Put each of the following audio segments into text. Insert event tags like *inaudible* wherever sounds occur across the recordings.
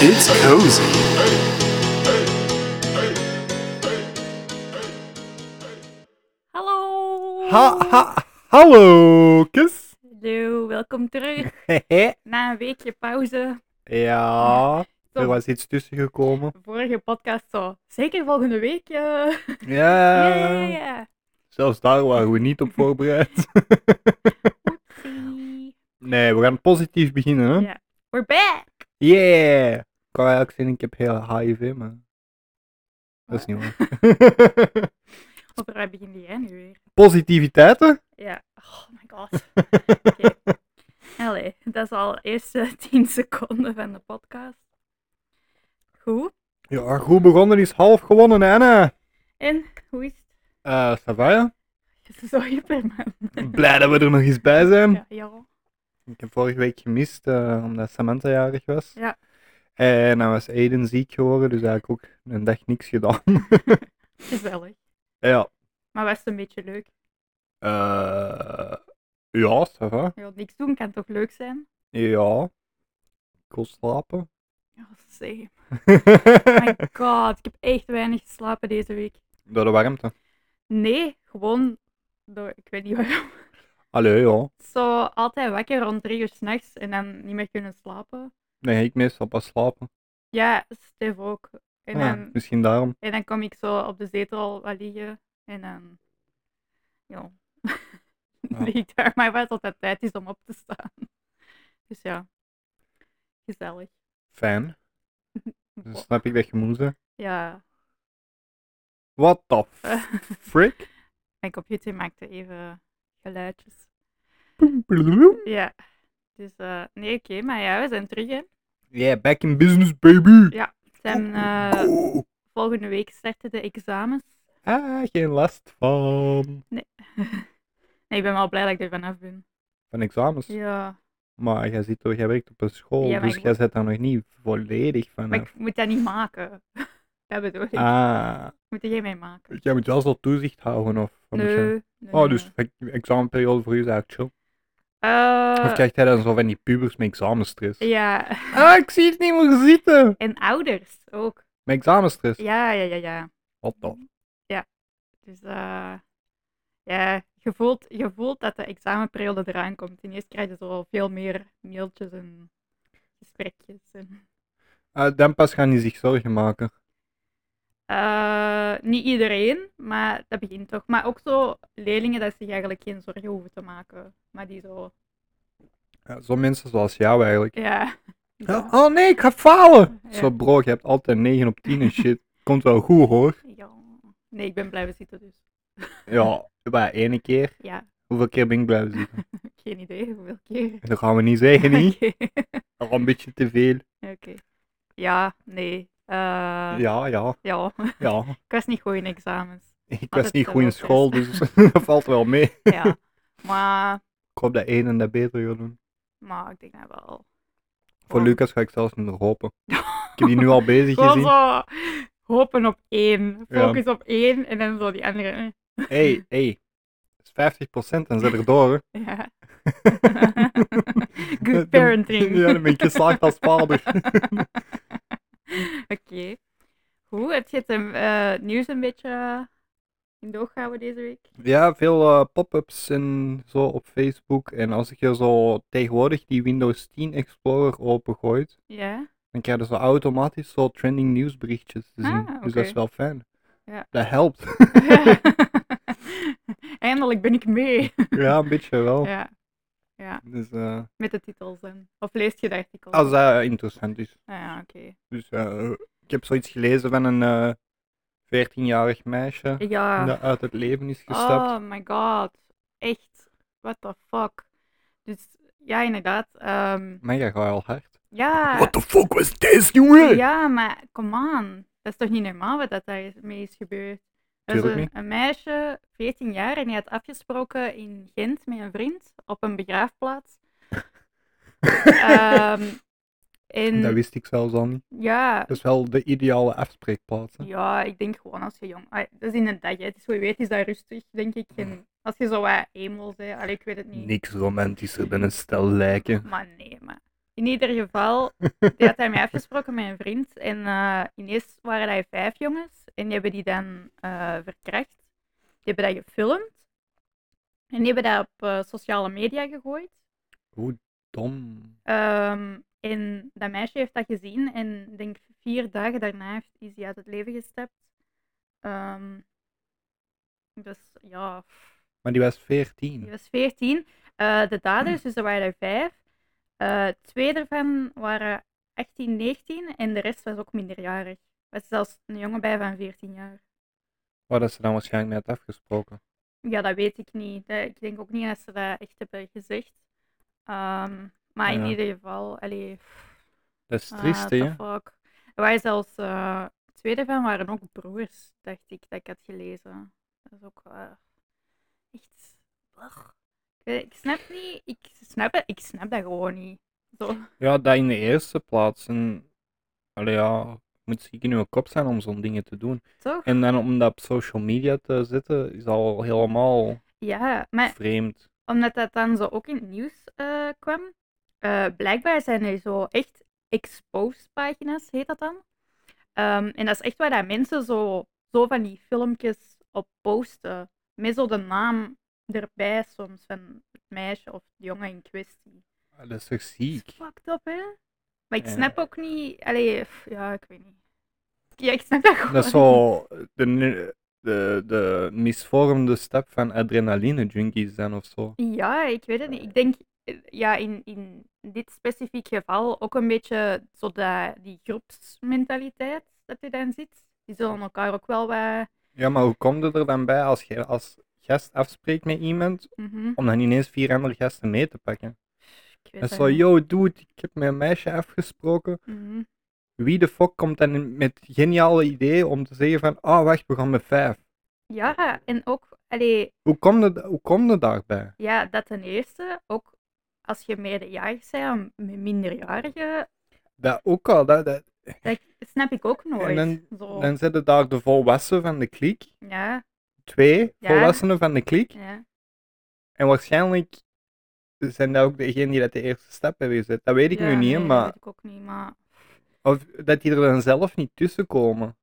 It's cozy. Hallo! Ha, ha, hallo, kus. Hallo, welkom terug na een weekje pauze. ja, Zo, er was iets tussen gekomen. Vorige podcast zo. Zeker volgende week. eh. Ja, Ja, ja, ja. zelfs daar waren we niet op voorbereid. Oepsie. nee, we gaan positief beginnen, hè? Ja. We're back! Yeah! Ik kan eigenlijk zeggen, ik heb heel HIV, maar... Dat is niet waar. Of waar begin jij nu weer? Positiviteiten? Ja. Oh my *laughs* god. Allee, dat is al de *laughs* eerste 10 seconden van de podcast. Goed. ja, goed begonnen is half gewonnen, hè, Anna? En hoe is het? Eh, Savaya? Het is Zo hyper, man. Blij dat we er nog eens bij zijn. Hm. Ja, ja. Ik heb vorige week gemist, eh, omdat Samantha jarig was. Ja. En dan was Aiden ziek geworden, dus eigenlijk ook een dag niks gedaan. *laughs* Gezellig. ja. Maar was het een beetje leuk? Eh, ja, ça va. Ja, niks doen kan toch leuk zijn? Ja. Ik wil slapen. Ja, zeg. my god, ik heb echt weinig geslapen deze week. *laughs* Door de warmte. Nee, gewoon door, ik weet niet waarom. *laughs* Allee, ja. Zo altijd wakker rond drie uur s'nachts en dan niet meer kunnen slapen. Dan ga ik meestal pas slapen. Ja, Stef ook. En, Ah, dan, misschien daarom. en dan kom ik zo op de zetel wat liggen en dan... Ja. *laughs* Ja. lig ik daar maar wat tot het tijd is om op te staan. *laughs* Dus ja. Gezellig. *laughs* Fijn. Dus Dan snap ik dat je moe bent. Ja. What *laughs* the frick? Mijn computer maakte even geluidjes. Ja. Dus eh, nee, oké, maar ja, we zijn terug, hè. Yeah, back in business, baby. Ja, het zijn, eh, Go. volgende week starten de examens. Ah, geen last van. Nee, ik ben wel blij dat ik er vanaf ben. Van examens. Ja, Maar jij, zit toch, jij werkt op een school, Ja, maar dus ik jij zit daar nog niet volledig maar vanaf. ik moet dat niet maken. *laughs* dat bedoel ik. Ah, Moet jij mee maken? jij moet wel zo toezicht houden of wat moet Nee, jij- nee, Oh, nee, dus nee. ex- examenperiode voor u is eigenlijk chill. Eh, of krijgt hij dan zo van die pubers met examenstress? Ja, Ah, ik zie het niet meer zitten! en ouders ook. Met examenstress? Ja, ja, ja, ja. Wat dan? Dus eh ja, je voelt, je voelt dat de examenperiode eraan komt. En eerst krijg je zo veel meer mailtjes en gesprekjes. En... Ah, dan pas gaan die zich zorgen maken. Eh, niet iedereen, maar dat begint toch. Maar ook zo leerlingen dat zich eigenlijk geen zorgen hoeven te maken. Maar die zo, Ja, Zo'n mensen zoals jou eigenlijk. ja. *laughs* die zo- Ja, Oh nee, ik ga falen! Ja. Zo bro, je hebt altijd 9 op 10 en shit. Komt wel goed hoor. ja. Nee, ik ben blijven zitten dus. Ja, bij ene keer. Ja, Hoeveel keer ben ik blijven zitten? geen idee hoeveel keer. Dat gaan we niet zeggen, niet? *laughs* Oké. Al een beetje te veel. Oké. Ja, nee. Eh, ja. *laughs* Ja, ja, ja. ik was niet goed in *laughs* examens. Ik Altijd was niet te goed in wel school, dus *laughs* dat valt wel mee. Ja, maar, Ik hoop dat één en dat beter gaat doen. maar ik denk dat wel. Voor Oh. Lucas ga ik zelfs niet meer *laughs* hopen. Ik heb die nu al bezig Gewoon gezien. zo hopen op één. Ja. Focus op één en dan zo die andere. eh, hey, hey. Dat is 50% en zet er door. hè. Ja. Dan- *laughs* Good parenting. Ja, dan ben ik geslaagd als vader. *laughs* Oké. Hoe heb je het eh, nieuws een beetje eh, in de oog gehouden deze week? Ja, veel eh, pop-ups en zo op Facebook. En als ik je zo tegenwoordig die Windows 10 Explorer opengooit, Ja. *laughs* dan krijg je zo automatisch zo trending nieuwsberichtjes te zien. Ah, Dus dat is oké. wel fijn. Ja. Dat helpt. *laughs* Eindelijk ben ik mee. Ja, een beetje wel. ja, Dus eh, met de titels en. Of leest je de artikels? als dat eh, interessant is. Ah, ja, oké. Dus eh, ik heb zoiets gelezen van een eh 14-jarig meisje Ja. dat uit het leven is gestapt. ah. Oh my god. Echt. What the fuck. Dus ja, inderdaad. ehm, Maar jij gaat al hard. ja. the fuck was this, jongen? Ah. Ja, maar come on. Dat is toch niet normaal wat dat daarmee is gebeurd? Er is Tuurlijk een, niet. een meisje, 14 jaar, en die had afgesproken in Gent met een vriend op een *laughs* begraafplaats. Ehm, en Dat wist ik zelfs al niet. ja, Dat is wel de ideale afspreekplaats. hè. ja, ik denk gewoon als je jong... Ah, dat is in de dag, hè. Dus wie weet is dat rustig, denk ik. En Hmm. als je zo wat emo bent, allee, ik weet het niet. Niks romantischer dan een stel lijken. Maar nee, maar... In ieder geval, die had hij mij afgesproken met een vriend. En eh, ineens waren hij vijf jongens. En die hebben die dan eh, verkracht. Die hebben dat gefilmd. En die hebben dat op eh, sociale media gegooid. Dom. Ehm, en dat meisje heeft dat gezien. En ik denk vier dagen daarna heeft, is hij uit het leven gestapt. Ehm, dus ja, Maar die was 14. die was 14. Eh, de daders, dus er waren er vijf. Eh, twee daarvan waren 18, 19 en de rest was ook minderjarig. Er was zelfs een jongen bij van 14 jaar. Waar dat ze dan waarschijnlijk net afgesproken. Ja, dat weet ik niet. Dat- Ik denk ook niet dat ze dat echt hebben gezegd. Ehm, maar in Ja. ieder geval, allee, pff, Dat is ah, triest, what hè? the fuck. Er waren zelfs eh, twee daarvan waren ook broers, dacht ik, dat ik had gelezen. Dat is ook eh, echt. ugh. Ik, weet- ik snap niet, ik snap, het- ik snap dat gewoon niet. Zo. Ja, dat in de eerste plaats. En, allee, ja, je moet ziek in je kop zijn om zo'n dingen te doen. Toch? En dan om dat op social media te zetten, is al helemaal Ja, maar vreemd. omdat dat dan zo ook in het nieuws eh, kwam, eh, blijkbaar zijn er zo echt exposed pagina's, heet dat dan. Ehm, en dat is echt waar dat mensen zo, zo van die filmpjes op posten, met zo de naam erbij soms van het meisje of de jongen in kwestie. Ah, Dat is toch Dat is ziek? fucked up, hè? Maar ik Ja. snap ook niet, allee, pff, ja, ik weet niet. Ja, ik snap dat gewoon Dat is zo *laughs* de, nu- de, de misvormde stap van adrenaline junkies dan of zo. Ja, ik weet het niet. Ik denk, eh, ja, in, in dit specifiek geval ook een beetje zo dat, die groepsmentaliteit dat er dan zit. Die zullen elkaar ook wel wat... Ja, maar hoe komt het er dan bij als je als gast afspreekt met iemand Mhm, om dan ineens vier andere gasten mee te pakken? ik weet En dat zo, niet. yo dude, ik heb met een meisje afgesproken. Mhm. Wie de fuck komt dan in- met geniale ideeën om te zeggen van, ah wacht, we gaan met vijf. Ja, en ook, allee, Hoe komt het, hoe komt het daarbij? ja, dat ten eerste, ook als je meerderjarig bent, met minderjarigen, Dat ook al, dat, dat, dat snap ik ook nooit. dan- zo, dan zitten daar de volwassenen van de kliek, ja, twee Ja. volwassenen van de kliek, ja, En waarschijnlijk zijn dat ook degenen die dat de eerste stap hebben gezet. Dat weet ik ja, nu niet, nee, hè, dat maar weet ik ook niet, maar... of dat die er dan zelf niet tussen komen.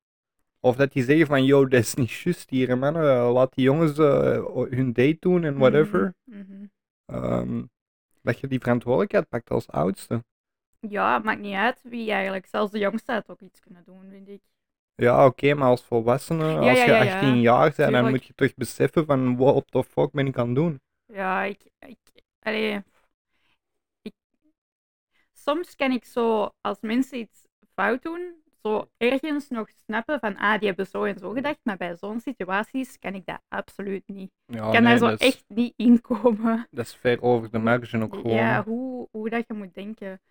Of dat die zeggen van, yo, dat is niet juist hier, hè, man. Eh, laat die jongens eh, o- hun date doen en whatever. Mhm, mhm. Ehm, dat je die verantwoordelijkheid pakt als oudste. Ja, het maakt niet uit wie eigenlijk. Zelfs de jongste had ook iets kunnen doen, vind ik. Ja, oké, maar als volwassene, als ja, je ja, ja. 18 jaar bent, dan Tuurlijk. moet je toch beseffen van, what the fuck ben ik aan het doen? Ja, ik. ik allee, ik, soms kan ik zo, als mensen iets fout doen, zo ergens nog snappen van, ah, die hebben zo en zo gedacht. Maar bij zo'n situaties kan ik dat absoluut niet. Ja, Ik kan Oh, nee, dus daar zo dat is, echt niet in komen. Dat is ver over de marge ook gewoon. Ja, hoe, hoe dat je moet denken.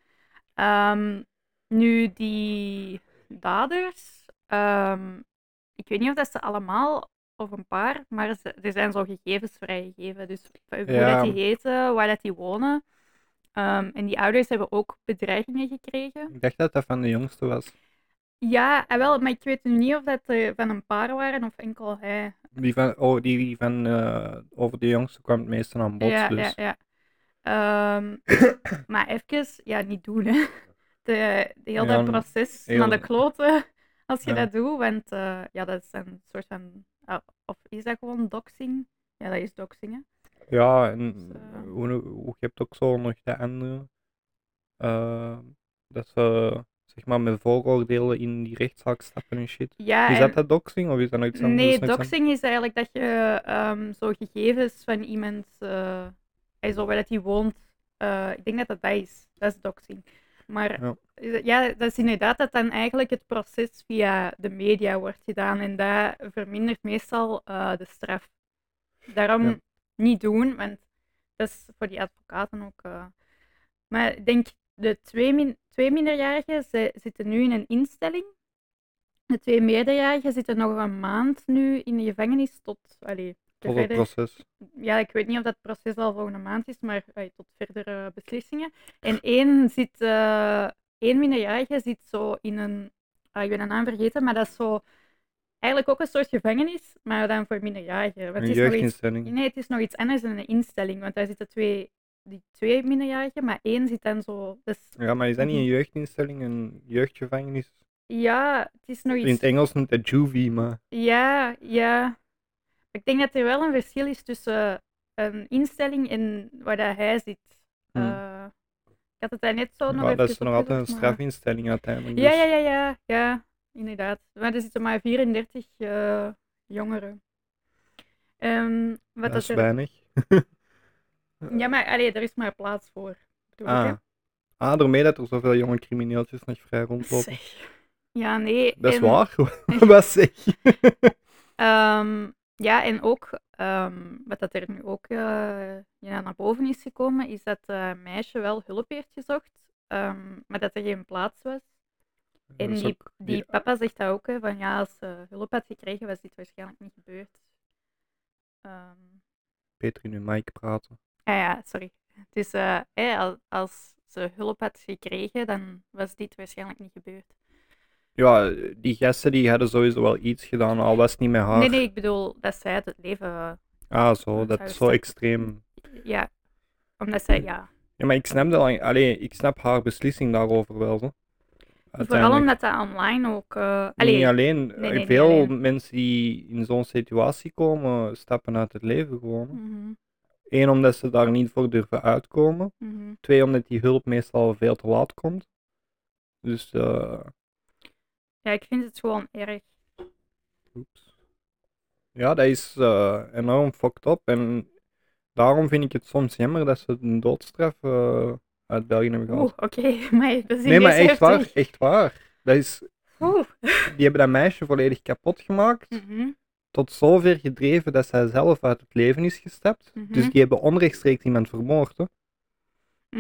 Ehm, nu, die daders, ehm, ik weet niet of dat ze allemaal of een paar, maar ze, er zijn zo gegevens vrijgegeven. Dus hoe Ja. dat die heten, waar dat die wonen. Ehm, en die ouders hebben ook bedreigingen gekregen. Ik dacht dat dat van de jongste was. Ja, ah wel, maar ik weet nu niet of dat er van een paar waren of enkel hij. Die van, oh, die van eh, over de jongste kwam het meeste aan bod. ja, dus. ja, ja. *coughs* Ehm, maar even, ja, niet doen, hè. De, de heel Ja, dat proces heel- naar de kloten, *laughs* als je Ja. dat doet. Want eh, ja, dat is een soort van... ah, of is dat gewoon doxing? Ja, dat is doxing, hè. Ja, en Dus, eh. hoe, hoe- je hebt ook zo nog de andere. eh, dat ze zeg maar met vooroordelen in die rechtszaak stappen en shit. Ja, Is en- dat dat doxing of is dat nog iets anders? Nee, Dat is nog iets doxing is eigenlijk dat je ehm, zo gegevens van iemand, eh en zo waar dat hij woont, eh, ik denk dat dat dat is. Dat is doxing. Maar Ja. is het- ja, dat is inderdaad dat dan eigenlijk het proces via de media wordt gedaan en dat vermindert meestal eh, de straf. Daarom Ja. niet doen, want dat is voor die advocaten ook. eh. Maar ik denk, de twee, min- twee minderjarigen ze zitten nu in een instelling. De twee meerderjarigen zitten nog een maand nu in de gevangenis tot. Allee, de anders. Tot het verder- proces. ja, ik weet niet of dat proces al volgende maand is, maar allee, tot verdere beslissingen. En één, zit, eh, één minderjarige zit zo in een. ah, ik ben de naam vergeten, maar dat is zo. Eigenlijk ook een soort gevangenis, maar dan voor minderjarigen. Want Een het is nog iets jeugdinstelling. Nee, het is nog iets anders dan een instelling, want daar zitten twee die twee minderjarigen, maar één zit dan zo. Dus Ja, maar is dat niet een Mhm. jeugdinstelling, een jeugdgevangenis? ja, het is nog In het iets. Engels noemt dat juvie, maar... Ja, ja. Ik denk dat er wel een verschil is tussen een instelling en waar dat hij zit. Hmm. Eh, ik had het daar net zo nog maar dat is even nog altijd een opgezocht, maar- strafinstelling uiteindelijk. Ja, dus- ja, ja, ja, ja, inderdaad. Maar er zitten maar 34 eh, jongeren. Ehm, wat Dat is er- weinig. Ja, maar allee, er is maar plaats voor. bedoel ik, hè. Ah. ah, daarmee dat er zoveel jonge crimineeltjes nog vrij rondlopen. Zeg. Ja, nee. Dat is en, waar. *laughs* Wat zeg je? ehm, ja, en ook ehm, wat dat er nu ook eh, ja, naar boven is gekomen, is dat eh meisje wel hulp heeft gezocht, ehm, maar dat er geen plaats was. Dat En is die, ook- die papa zegt dat ook, hè, van ja, als ze hulp had gekregen, was dit waarschijnlijk niet gebeurd. Ehm, Peter in hun mic praten. ah ja, sorry. Dus eh, hè, al- als ze hulp had gekregen, dan was dit waarschijnlijk niet gebeurd. Ja, die gasten die hadden sowieso wel iets gedaan, al was het niet met haar. Nee, nee, ik bedoel dat zij het leven, Ah, zo, Dat dat zou is zo sterk- extreem. ja, omdat zij, ja, Ja, maar ik snap, dat, lang- allee, ik snap haar beslissing daarover wel. Zo. vooral Uiteindelijk. omdat dat online ook, eh allee, Niet alleen. nee, niet Veel alleen. mensen die in zo'n situatie komen, stappen uit het leven gewoon. mhm, Eén, omdat ze daar niet voor durven uitkomen. mhm. Twee, omdat die hulp meestal veel te laat komt. Dus, eh ja, ik vind het gewoon erg. oeps. Ja, dat is eh, enorm fucked up. En daarom vind ik het soms jammer dat ze een doodstraf eh, uit België hebben Oeh, gehad. oké, *laughs* maar dat is nee, maar ineens echt waar, heftig. echt waar. Dat is, Oeh. die hebben dat meisje volledig kapot gemaakt. Mhm, Tot zover gedreven dat zij zelf uit het leven is gestapt. Mhm. Dus die hebben onrechtstreeks iemand vermoord. Hè.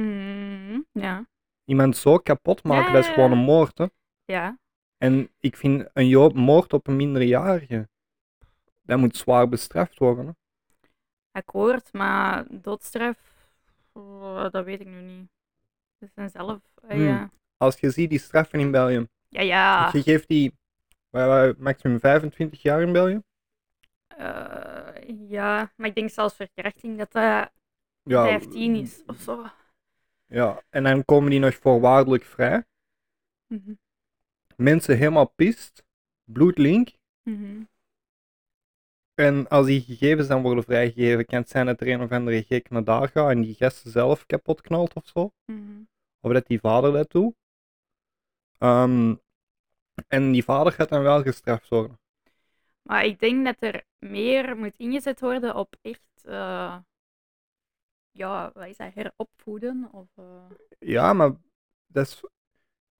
mhm, Ja, Iemand zo kapot maken, Ja, dat is ja, gewoon een ja. moord. Hè. ja, En ik vind een jo- moord op een minderjarige, dat moet zwaar bestraft worden. hè. akkoord, maar doodstraf, eh, dat weet ik nu niet. Dat zijn zelf, eh, Hmm. ja. Als je ziet die straffen in België, Ja, ja. je geeft die wij- wij- maximum 25 jaar in België. Eh, ja, maar ik denk zelfs verkrachting dat dat 15 is of zo. Ja, en dan komen die nog voorwaardelijk vrij. Mhm, Mensen helemaal pist, bloedlink. mhm. En als die gegevens dan worden vrijgegeven, kan het zijn dat er een of andere gek naar daar gaat en die gasten zelf kapot knalt of zo. Mhm. Of dat die vader dat doet. Ehm, en die vader gaat dan wel gestraft worden. Maar ik denk dat er meer moet ingezet worden op echt, eh, ja, wat is dat, heropvoeden? Of, eh, Ja, maar dat is,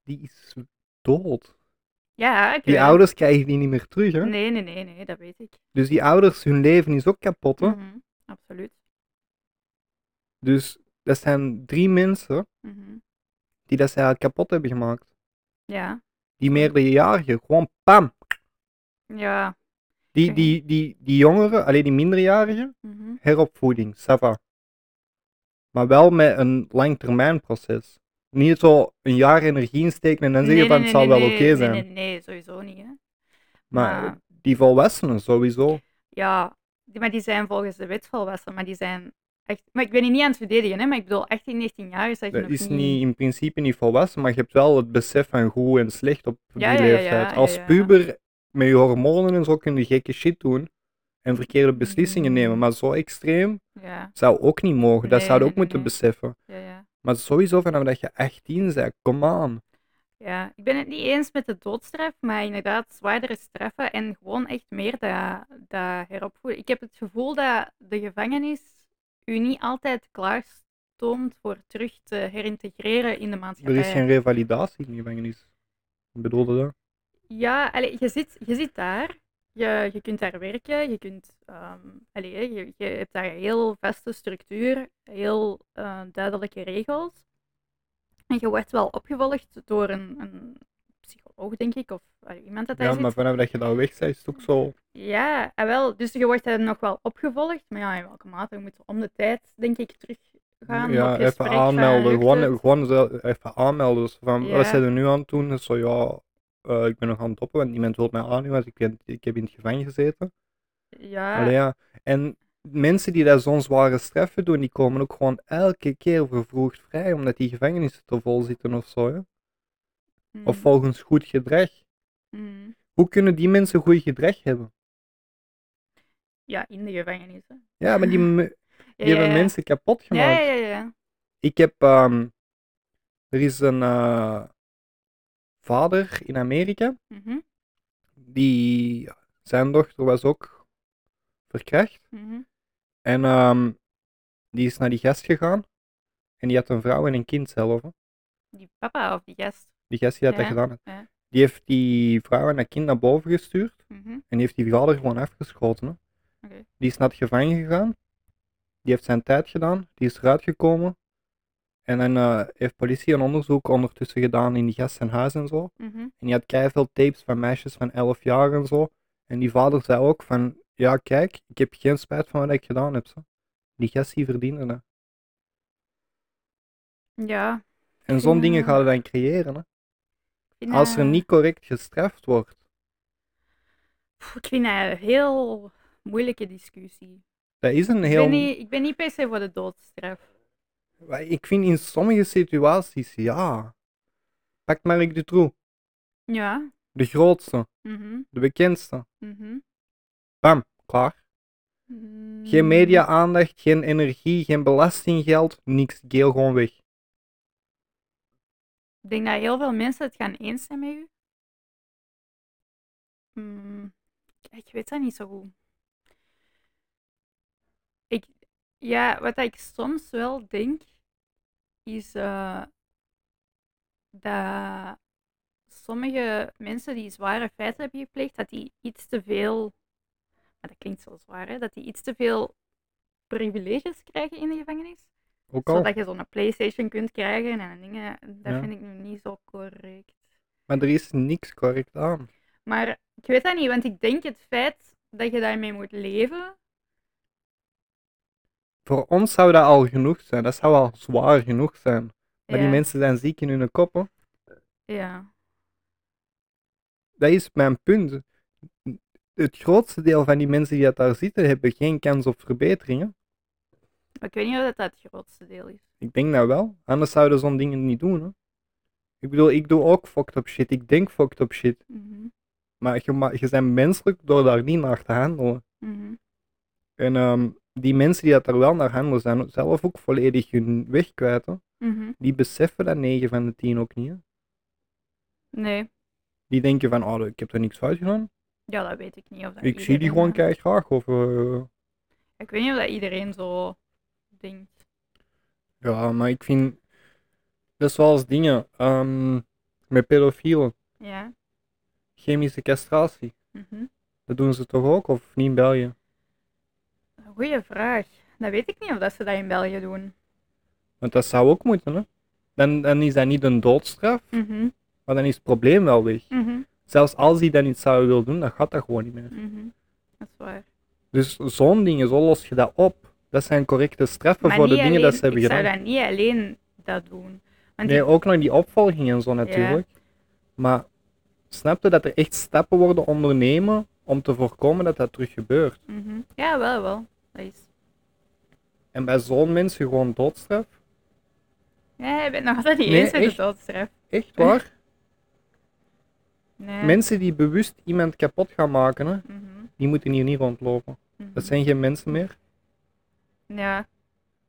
die is dood. Ja, ik Die weet het. ouders krijgen die niet meer terug. Hè? Nee, nee, nee, nee, dat weet ik. Dus die ouders, hun leven is ook kapot. Hè? Mhm, Absoluut. Dus dat zijn drie mensen Mhm. die dat zij kapot hebben gemaakt. Ja, Die meerderjarigen, gewoon pam. ja. Die, die, die, die jongeren, alleen die minderjarigen, mhm. heropvoeding, Sava. Maar wel met een langtermijnproces. Niet zo een jaar energie insteken en dan Nee, zeggen van nee, het zal nee, wel nee, oké nee, zijn. Nee, nee, sowieso niet. Hè. Maar Maar- die volwassenen sowieso. Ja, die, maar die zijn volgens de wet volwassen, maar die zijn echt... Maar ik ben hier niet aan het verdedigen, hè, maar ik bedoel, 18, 19 jaar is dat je Dat nog is niet... niet, in principe niet volwassen, maar je hebt wel het besef van goed en slecht op Ja, die ja, ja, ja, leeftijd. ja, Als ja. puber met je hormonen en zo kun je gekke shit doen en verkeerde beslissingen Mm. nemen. Maar zo extreem Ja, zou ook niet mogen. Dat Nee, zou je nee, ook nee, moeten nee. beseffen. ja, ja. Maar sowieso vanaf dat je 18 bent, kom aan. Ja, ik ben het niet eens met de doodstraf, maar inderdaad zwaardere straffen en gewoon echt meer dat, dat heropvoeden. Ik heb het gevoel dat de gevangenis u niet altijd klaarstoomt voor terug te herintegreren in de Er maatschappij. is geen revalidatie in de gevangenis. Ik bedoelde dat? Ja, allee, je, zit, je zit daar, je, je kunt daar werken, je, kunt, ehm, allee, je, je hebt daar een heel vaste structuur, heel eh, duidelijke regels. En je wordt wel opgevolgd door een, een psycholoog, denk ik, of allee, iemand dat daar Ja, zit. maar vanaf dat je daar weg bent, is het ook zo. Ja, ah wel, dus je wordt daar nog wel opgevolgd, maar ja, in welke mate? Je moet om de tijd, denk ik, terug gaan. op ja, even gesprek van, aanmelden. lukt Gewoon, het? gewoon zelf even aanmelden. Dus van, Ja. Wat zijn er nu aan het doen? Dus zo, ja, eh, ik ben nog aan het dus Ah. toppen, want niemand wil mij aannemen, want ik, ben, ik heb in het gevangen gezeten. Ja, Allee, ja. En mensen die daar zo'n zware straffen doen, die komen ook gewoon elke keer vervroegd vrij, omdat die gevangenissen te vol zitten of zo. Hè? Of Mm, volgens goed gedrag. mm. Hoe kunnen die mensen goed gedrag hebben? Ja, in de gevangenissen. *laughs* Ja, maar die, me- Ja, die hebben ja, ja. mensen kapot Ja, gemaakt. ja, ja, ja. Ik heb. ehm, er is een eh, vader in Amerika. Mhm, Die. Zijn dochter was ook verkracht. mhm. En ehm, die is naar die gast gegaan. En die had een vrouw en een kind zelf. hè. Die papa of die gast. Die gast die had Ja, dat gedaan. had. ja. Die heeft die vrouw en dat kind naar boven gestuurd. Mhm. En die heeft die vader gewoon afgeschoten. Hè. Oké. Die is naar het gevangen gegaan. Die heeft zijn tijd gedaan. Die is eruit gekomen. En dan eh, heeft politie een onderzoek ondertussen gedaan in die gast zijn huis en zo. mhm. En die had keiveel tapes van meisjes van 11 jaar en zo. En die vader zei ook van, ja kijk, ik heb geen spijt van wat ik gedaan heb. Zo. Die gast die verdiende dat. Ja. En zo'n dingen Ja. gaan we dan creëren. Hè. ik vind Als er dat- niet correct gestraft wordt. Pff, Ik vind dat een heel moeilijke discussie. Dat is een Ik, heel... ben niet, ik ben niet per se voor de doodstraf. Maar Ik vind in sommige situaties, ja. Pak Mark Dutroux. Ja. De grootste, mhm, de bekendste. mhm. Bam, klaar. Geen Mm, media-aandacht, geen energie, geen belastinggeld, niks. Geel gewoon weg. Ik denk dat heel veel mensen het gaan eens zijn met u. Mm, ik weet dat niet zo goed. Ik, ja, wat ik soms wel denk, is eh, dat sommige mensen die zware feiten hebben gepleegd, dat die iets te veel, maar dat klinkt zo zwaar, hè, dat die iets te veel privileges krijgen in de gevangenis. Ook al. Zodat je zo'n PlayStation kunt krijgen en dingen. Dat Ja. vind ik nu niet zo correct. Maar er is niks correct aan. Maar ik weet dat niet, want ik denk het feit dat je daarmee moet leven. Voor ons zou dat al genoeg zijn. Dat zou al zwaar genoeg zijn. Maar die ja, mensen zijn ziek in hun kop. hoor. Ja. Dat is mijn punt. Het grootste deel van die mensen die dat daar zitten, hebben geen kans op verbeteringen. Maar ik weet niet of dat, dat het grootste deel is. Ik denk dat wel. Anders zouden zo'n dingen niet doen. Hè. Ik bedoel, ik doe ook fucked up shit. Ik denk fucked up shit. Mhm, Maar je, ma- je bent menselijk door daar niet naar te handelen. mhm. En ehm, die mensen die dat daar wel naar handelen, zijn zelf ook volledig hun weg kwijt. hè. mhm. Die beseffen dat 9 van de 10 ook niet. hè. Nee, Die denken van, oh, ik heb er niks fout gedaan. ja, dat weet ik niet. Of dat Ik zie die Nou, iedereen gewoon dat- keihard graag. Of, eh, Ik weet niet of dat iedereen zo denkt. ja, maar ik vind... Dat is zoals dingen. ehm, met pedofielen. Ja. Chemische castratie. mhm. Dat doen ze toch ook? Of niet in België? Goeie vraag. Dat weet ik niet of dat ze dat in België doen. Want dat zou ook moeten, hè? Dan, dan is dat niet een doodstraf. Mhm, Maar dan is het probleem wel weg. mhm, Zelfs als die dan iets zou willen doen, dan gaat dat gewoon niet meer. mhm. Dat is waar. Dus zo'n dingen, zo los je dat op. Dat zijn correcte straffen Maar voor de niet dingen alleen- dat ze hebben ik gedaan. zou dat niet alleen dat doen. Want Nee, ik- ook nog die opvolging en zo natuurlijk. Maar snapte dat er echt stappen worden ondernemen om te voorkomen dat dat terug gebeurt? Mhm. Ja, wel, wel. Dat is... En bij zo'n mensen gewoon doodstraf? Ja, je bent nog altijd niet Nee, eens met de echt. doodstraf. Echt waar? Nee. Mensen die bewust iemand kapot gaan maken, hè, Mhm, die moeten hier niet rondlopen. mhm. Dat zijn geen mensen meer. Ja,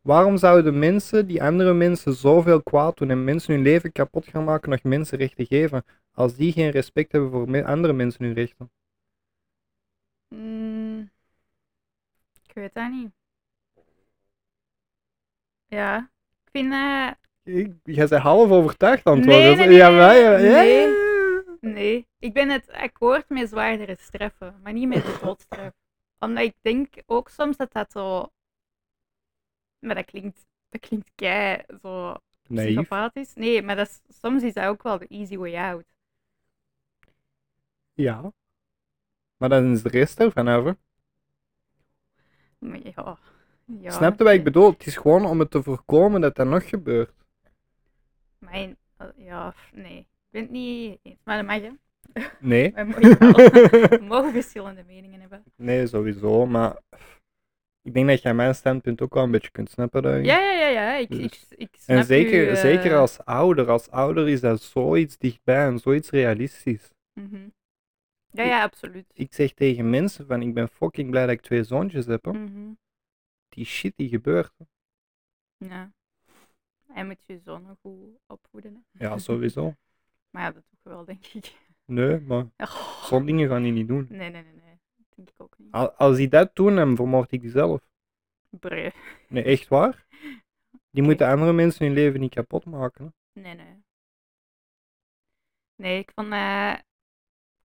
Waarom zouden mensen die andere mensen zoveel kwaad doen en mensen hun leven kapot gaan maken, nog mensenrechten geven, als die geen respect hebben voor me- andere mensen hun rechten? Mm. ik weet dat niet. Ja, ik vind eh, Ik, jij bent half overtuigd aan het worden. Nee, Dus- nee, nee, ja, nee, wij- ja, nee. ja, ja. Nee, ik ben het akkoord met zwaardere straffen, maar niet met *laughs* de doodstraf. Omdat ik denk ook soms dat dat zo... Maar dat klinkt, dat klinkt kei zo Naïef. psychopathisch. Nee, maar dat is, soms is dat ook wel de easy way out. Ja. Maar dan is de rest ervan over. Maar ja. ja Snap je wat ik bedoel? Het is gewoon om het te voorkomen dat dat nog gebeurt. Mijn, eh, ja, f- nee. Ik ben het niet eens. Maar dat mag je. *laughs* Nee. *laughs* We mogen, wel- we mogen verschillende meningen hebben. nee, sowieso. Maar Ik denk dat jij mijn standpunt ook wel een beetje kunt snappen daarin. Ja, ja, ja, ja. Ik, Dus- ik, ik snap en zeker, uw, eh, zeker als ouder. Als ouder is dat zoiets dichtbij en zoiets realistisch. mhm. Ja, ja, absoluut. Ik zeg tegen mensen van, ik ben fucking blij dat ik twee zoontjes heb. hè. Mhm, Die shit die gebeurt. Ja. En moet je zoon nog goed opvoeden. hè. *laughs* Ja, sowieso. Maar ja, dat doe ik wel, denk ik. Nee, maar Oh, zo'n dingen gaan die niet doen. Nee, nee, nee, nee. Dat denk ik ook niet. Al- Als die dat doen, dan vermoord ik die zelf. Breu. Nee, echt waar? Die Oké. moeten andere mensen hun leven niet kapot maken. hè. Nee, nee. Nee, ik vond, eh,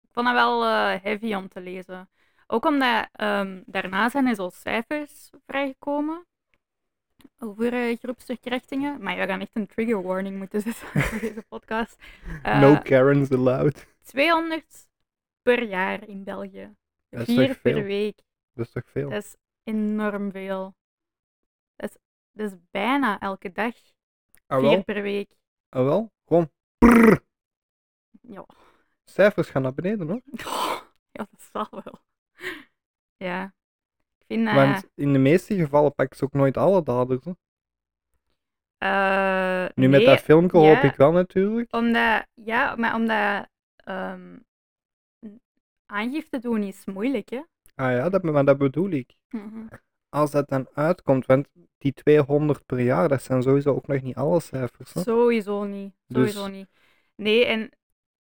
ik vond dat wel eh, heavy om te lezen. Ook omdat ehm, daarna zijn er zo cijfers vrijgekomen over eh, groepsverkrachtingen. Maar we gaan echt een trigger warning moeten *laughs* zetten voor deze podcast. Eh, No Karens allowed. *laughs* 200 per jaar in België. Dat is Vier toch per veel? week. Dat is toch veel? Dat is enorm veel. Dat is, dat is bijna elke dag. Ah Vier wel, per week. ah wel. Gewoon prrr. Ja. Cijfers gaan naar beneden hoor. *laughs* Ja, dat zal wel. Ja. Ik vind eh, dat... Want in de meeste gevallen pakken ze ook nooit alle daders. hè. eh, Nu nee, met dat filmpje hoop ja. Oh. ik wel natuurlijk. Omdat... Ja, maar omdat... ehm, aangifte doen is moeilijk, hè. Ah ja, dat, maar dat bedoel ik. Als dat dan uitkomt, want die 200 per jaar, dat zijn sowieso ook nog niet alle cijfers. Hè? Sowieso niet. Dus- Sowieso niet. Nee, en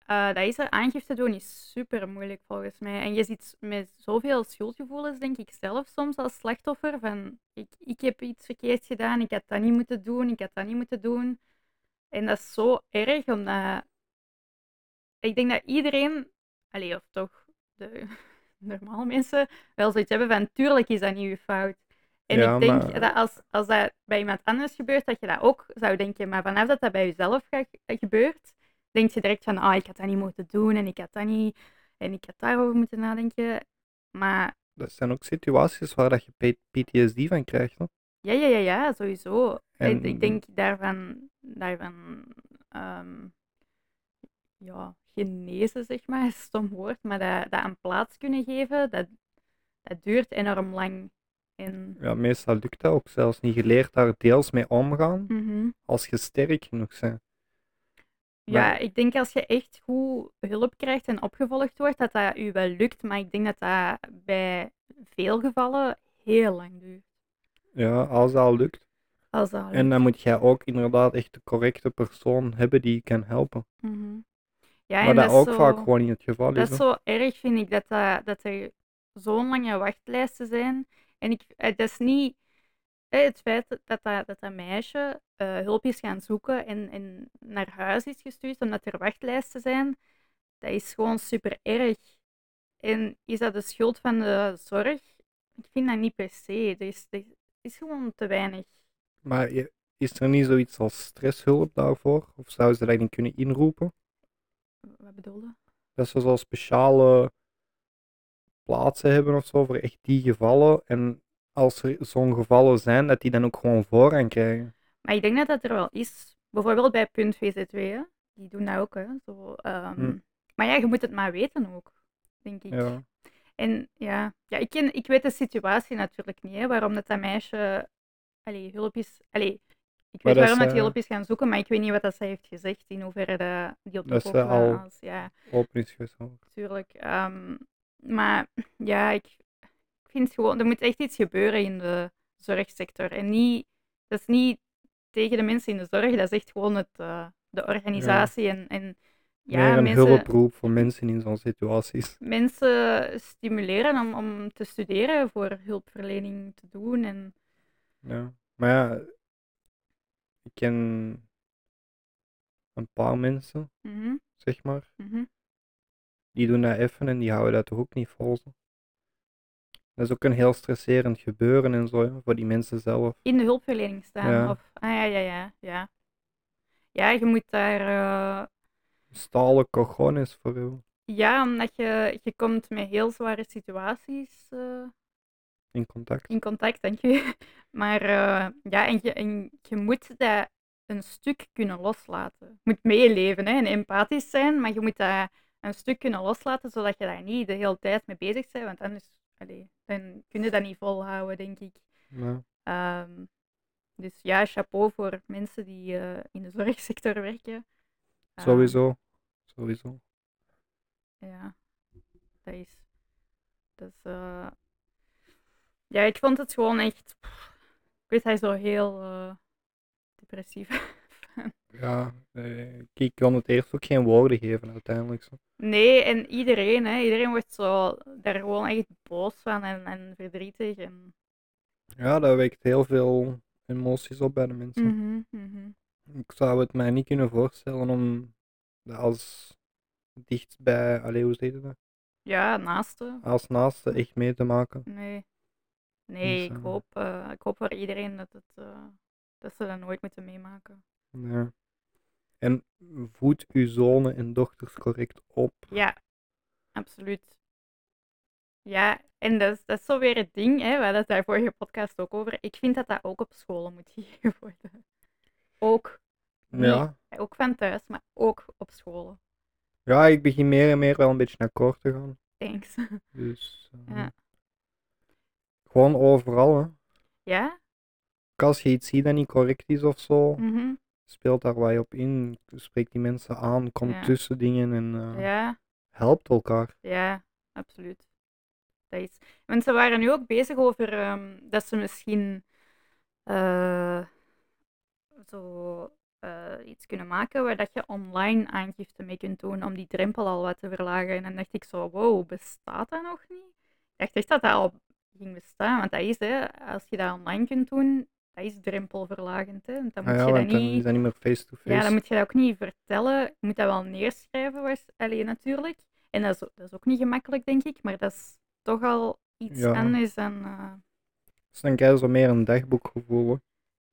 eh, dat is er. Aangifte doen is super moeilijk volgens mij. En je zit met zoveel schuldgevoelens, denk ik zelf soms als slachtoffer. Van ik, ik heb iets verkeerd gedaan, ik had dat niet moeten doen, ik had dat niet moeten doen. En dat is zo erg, omdat ik denk dat iedereen, allee, of toch de *laughs* normale mensen, wel zoiets hebben van tuurlijk is dat niet uw fout. En Ja, ik denk maar- dat als, als dat bij iemand anders gebeurt, dat je dat ook zou denken. Maar vanaf dat dat bij jezelf ga- gebeurt, denk je direct van, ah, ik had dat niet moeten doen en ik had dat niet, en ik had daarover moeten nadenken. Maar Dat zijn ook situaties waar dat je P- PTSD van krijgt. Hè? ja, ja, ja, ja, sowieso. Ik, En- ik denk daarvan, daarvan ehm, ja, genezen, zeg maar, *laughs* is een stom woord, maar dat, dat aan plaats kunnen geven, dat, dat duurt enorm lang. En, Ja, meestal lukt dat ook zelfs niet. Je leert daar deels mee omgaan Mhm. als je sterk genoeg bent. Ja, Maar- ik denk als je echt goed hulp krijgt en opgevolgd wordt, dat dat u wel lukt. Maar ik denk dat dat bij veel gevallen heel lang duurt. Ja, als dat al lukt. Als dat lukt. En dan moet jij ook inderdaad echt de correcte persoon hebben die je kan helpen. Mhm. Ja, en ehm, maar dat, is ook zo- vaak gewoon niet het geval Dat is. is hè. zo erg, vind ik, dat, dat, dat er zo'n lange wachtlijsten zijn. En ik, eh, dat is niet eh, het feit dat dat, dat, dat meisje eh, hulp is gaan zoeken en, en naar huis is gestuurd omdat er wachtlijsten zijn. Dat is gewoon super erg. En is dat de schuld van de zorg? Ik vind dat niet per se. Er is, er is gewoon te weinig. Maar je- is er niet zoiets als stresshulp daarvoor? Of zouden ze dat niet kunnen inroepen? Wat bedoel je? Dat ze zo speciale plaatsen hebben of zo voor echt die gevallen. En als er zo'n gevallen zijn, dat die dan ook gewoon voorrang krijgen. Maar ik denk dat dat er wel is. Bijvoorbeeld bij Punt VZW, hè. die doen dat ook. Hè. Zo, ehm, Hm. Maar ja, je moet het maar weten ook, denk ik. Ja. En ja, ja ik, ken, ik weet de situatie natuurlijk niet, hè, waarom dat, dat meisje allee, hulp is. Allee, ik weet Maar dat waarom dat ze- die hulp is gaan zoeken, maar ik weet niet wat dat zij heeft gezegd, in hoeverre dat die op de Dat koop ze al- was. Ja, Open is gezond. natuurlijk. Ehm, maar ja, ik, ik vind gewoon, er moet echt iets gebeuren in de zorgsector. En niet, dat is niet tegen de mensen in de zorg, dat is echt gewoon het, eh, de organisatie en, en ja, Meer een mensen hulproep voor mensen in zo'n situaties. mensen stimuleren om, om te studeren voor hulpverlening te doen. En, Ja. Maar ja, ik ken een paar mensen, Mhm, zeg maar. mhm. Die doen dat even en die houden dat toch ook niet vol. zo. Dat is ook een heel stresserend gebeuren en zo, ja, voor die mensen zelf. In de hulpverlening staan. Ja. Of, ah ja, ja, ja, ja. Ja, je moet daar. eh, Stalen cojones voor jou. ja, omdat je, je komt met heel zware situaties eh, in contact. in contact, dank je. *laughs* Maar eh, ja, en je, en je moet dat een stuk kunnen loslaten. Je moet meeleven hè, en empathisch zijn, maar je moet dat een stuk kunnen loslaten, zodat je daar niet de hele tijd mee bezig bent. Want anders, allee, allee, dan kun je dat niet volhouden, denk ik. Ja. Ehm, dus ja, chapeau voor mensen die eh, in de *laughs* zorgsector werken. Ehm, Sowieso. Sowieso. Ja, dat is. Dat is eh, Ja, ik vond het gewoon echt. pff, ik weet, hij is zo heel eh, depressief. *laughs* Ja, eh, ik kan het eerst ook geen woorden geven uiteindelijk. Zo. Nee, en iedereen, hè, iedereen wordt zo daar gewoon echt boos van en, en verdrietig. En... Ja, dat wekt heel veel emoties op bij de mensen. Mhm, mhm. Ik zou het mij niet kunnen voorstellen om dat als dicht bij, allee, hoe zeg je dat? Ja, naasten. Als naaste echt mee te maken. Nee. Nee, ik eh, hoop, eh, ik hoop voor iedereen dat, het, eh, dat ze dat nooit moeten meemaken. Ja. En voed uw zonen en dochters correct op. Ja, absoluut. Ja, en dat is, dat is zo weer het ding, hè, we hadden het daar vorige podcast ook over. Ik vind dat dat ook op scholen moet *laughs* gegeven worden. Ook, Nee. Ja. ook van thuis, maar ook op scholen. ja, ik begin meer en meer wel een beetje akkoord te gaan. Thanks. Dus eh, Ja. gewoon overal. Hè. Ja? Ook Als je iets ziet dat niet correct is of zo, Mhm. speelt daar wat je op in. Spreek die mensen aan, kom Ja. tussen dingen en eh, Ja. helpt elkaar. Ja, absoluut. Dat is... Want ze waren nu ook bezig over ehm, dat ze misschien eh, zo eh, iets kunnen maken waar dat je online aangifte mee kunt doen om die drempel al wat te verlagen. En dan dacht ik zo, wow, bestaat dat nog niet? Ik dacht echt dat dat al ging bestaan, want dat is, hè, als je dat online kunt doen, dat is drempelverlagend, hè. Want dan Ah moet ja, je want dat dan niet... is dat niet meer face-to-face. Ja, dan moet je dat ook niet vertellen. Je moet dat wel neerschrijven, waars- allee, natuurlijk. En dat is, dat is ook niet gemakkelijk, denk ik. Maar dat is toch al iets Ja. anders dan... eh, Dus dan krijg je zo meer een dagboekgevoel. hè.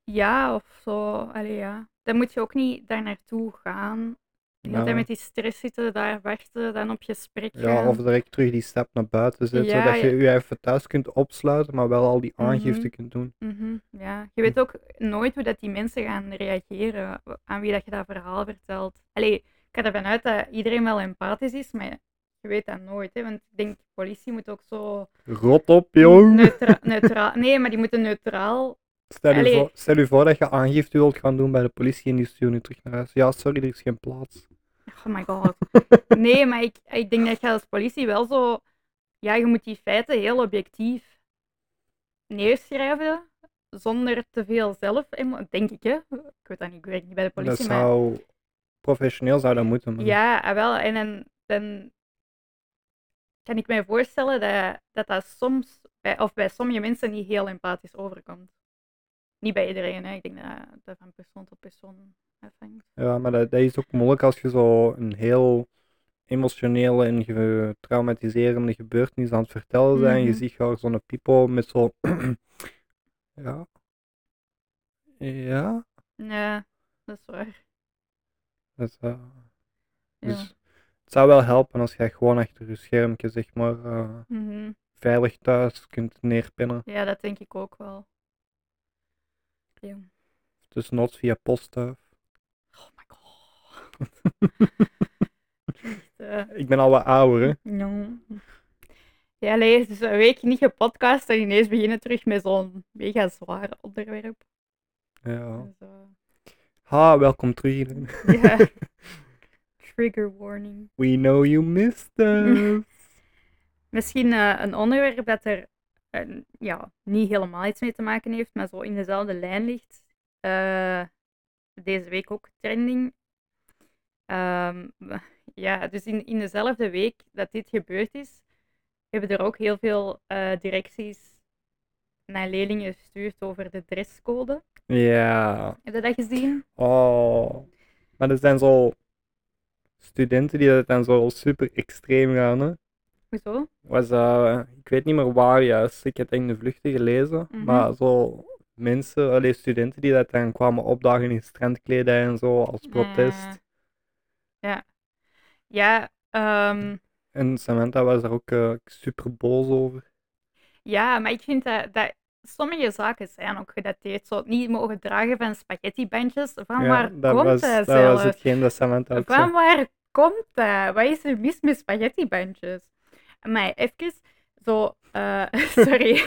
ja, of zo. Allee, ja. Dan moet je ook niet daar naartoe gaan. Je Ja. moet met die stress zitten, daar wachten, dan op gesprek gaan. Ja, of direct terug die stap naar buiten zetten, Ja, zodat je ja. je even thuis kunt opsluiten, maar wel al die aangifte Mhm. kunt doen. Mhm, ja. Je weet ook nooit hoe dat die mensen gaan reageren, wa- aan wie dat je dat verhaal vertelt. Allee, ik ga ervan uit dat iedereen wel empathisch is, maar je weet dat nooit. Hè? Want ik denk, politie moet ook zo Rot op, jong! Neutra neutraal. Nee, maar die moeten neutraal. Stel, u Allee. voor, stel u voor dat je aangifte wilt gaan doen bij de politie en die sturen je terug naar huis. Ja, sorry, er is geen plaats. Oh my god. Nee, maar ik, ik denk dat je als politie wel zo. Ja, je moet die feiten heel objectief neerschrijven. Zonder te veel zelf. emo- Denk ik, hè? Ik weet dat niet. Ik werk niet bij de politie. dat maar... zou... Professioneel zou dat moeten, maar... Ja, ah, wel. En dan, dan kan ik mij voorstellen dat dat, dat soms, bij, of bij sommige mensen, niet heel empathisch overkomt. Niet bij iedereen, hè. Ik denk dat dat van persoon tot persoon afhangt. Ja, maar dat, dat is ook moeilijk als je zo een heel emotionele en ge- traumatiserende gebeurtenis aan het vertellen bent. en Je Mhm. ziet gewoon zo'n pipo met zo... *clears throat* ja. Ja. Ja, dat is waar. Dat, eh, Ja. dus het zou wel helpen als jij gewoon achter je schermpje, zeg maar, eh, Mhm. veilig thuis kunt neerpinnen. ja, dat denk ik ook wel. Ja. Dus not via postduif. Oh my god. *laughs* Echt, eh, Ik ben al wat ouder, hè. Ja. Ja, nee, het is een week niet gepodcast en ineens beginnen terug met zo'n mega zwaar onderwerp. *laughs* Ja. Dus, eh, Ha, welkom terug. iedereen. ja. Trigger warning. *laughs* We know you missed *laughs* us. Misschien eh, een onderwerp dat er eh, ja, niet helemaal iets mee te maken heeft, maar zo in dezelfde lijn ligt. Eh, deze week ook trending. Ehm, ja, dus in, in dezelfde week dat dit gebeurd is, hebben er ook heel veel eh, directies naar leerlingen gestuurd over de dresscode. ja. Heb je dat gezien? Oh. Maar dat zijn zo studenten die dat dan zo super extreem gaan, hè. Hoezo? Was, eh, ik weet niet meer waar juist, ik heb het in de vluchten gelezen, Mhm. maar zo mensen, allee, studenten die dat dan kwamen opdagen in strandkledij en zo als protest. Eh, ja. Ja, ehm, En Samantha was daar ook eh, super boos over. Ja, maar ik vind dat, dat sommige zaken zijn ook gedateerd. Zo het niet mogen dragen van spaghettibandjes. Van waar dat Ah, komt was, dat dat was zelf? hetgeen dat Samantha ook Van zei. waar eh, komt dat? Wat is er mis met spaghettibandjes? Maar even, zo, Eh, *laughs* sorry.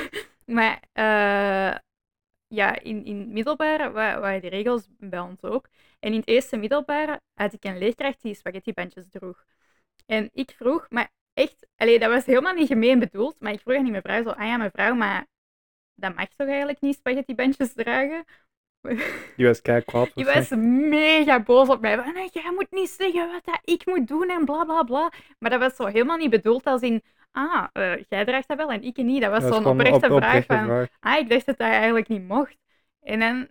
maar eh, ja, in, in het middelbaar wa- waren die regels bij ons ook. En in het eerste middelbaar had ik een leerkracht die spaghettibandjes droeg. En ik vroeg, maar echt, allee, dat was helemaal niet gemeen bedoeld, maar ik vroeg aan die mevrouw zo, ah ja, mevrouw, maar dat mag toch eigenlijk niet spaghettibandjes dragen? Die was kei kwaad. Die was waarschijnlijk. mega boos op mij. Van, "Nee, jij moet niet zeggen wat dat ik moet doen en bla bla bla. Maar dat was zo helemaal niet bedoeld als in, ah, eh, jij draagt dat wel en ik niet. Dat was Dat zo'n gewoon oprechte op- vraag oprechte van, ah, ik dacht dat dat eigenlijk niet mocht. En dan,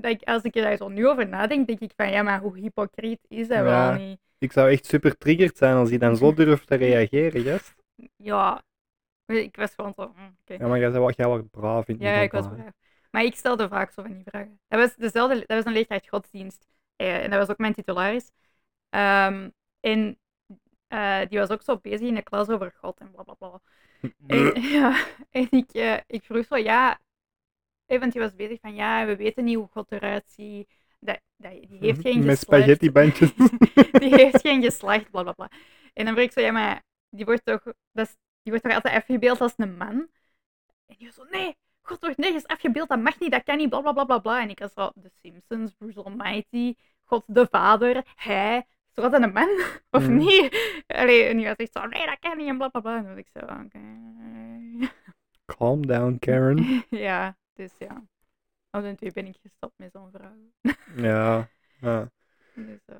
dat ik, als ik er daar zo nu over nadenk, denk ik van, ja, maar hoe hypocriet is dat Ja. wel niet? Ik zou echt super triggered zijn als hij *laughs* dan zo durft te reageren, gast. Ja, ik was gewoon zo, "Mm, oké. Ja, maar jij zei wat jij wordt braaf in het Ja, ik was middelbaar. braaf. Maar ik stelde vaak zo van die vragen. Dat was dezelfde, dat was een leerkracht godsdienst. Eh, en dat was ook mijn titularis. Ehm, en eh, die was ook zo bezig in de klas over God en blablabla. *laughs* Bla, bla. En, *laughs* ja, en ik, eh, ik vroeg zo, ja... eh, want die was bezig van, ja, we weten niet hoe God eruit ziet. Dat, dat, die *laughs* heeft geen Met geslacht. spaghettibandjes. *laughs* die *laughs* heeft geen geslacht, bla bla bla. En dan vroeg ik zo, ja, maar die wordt toch, dat is- die wordt toch altijd afgebeeld als een man? En die was zo, nee, God wordt nergens afgebeeld, dat mag niet, dat kan niet, bla bla bla bla bla. En ik was zo, The Simpsons, Bruce Almighty, God de Vader, hij, is toch altijd een man? *laughs* Of Mm. niet? Allee, en die was echt zo, nee, dat kan niet, en bla bla bla. En dan was ik zo, oké. *laughs* Calm down, Karen. *laughs* ja, dus ja. Op den duur ben ik gestopt met zo'n vrouw. Ja. ja. Dus, eh,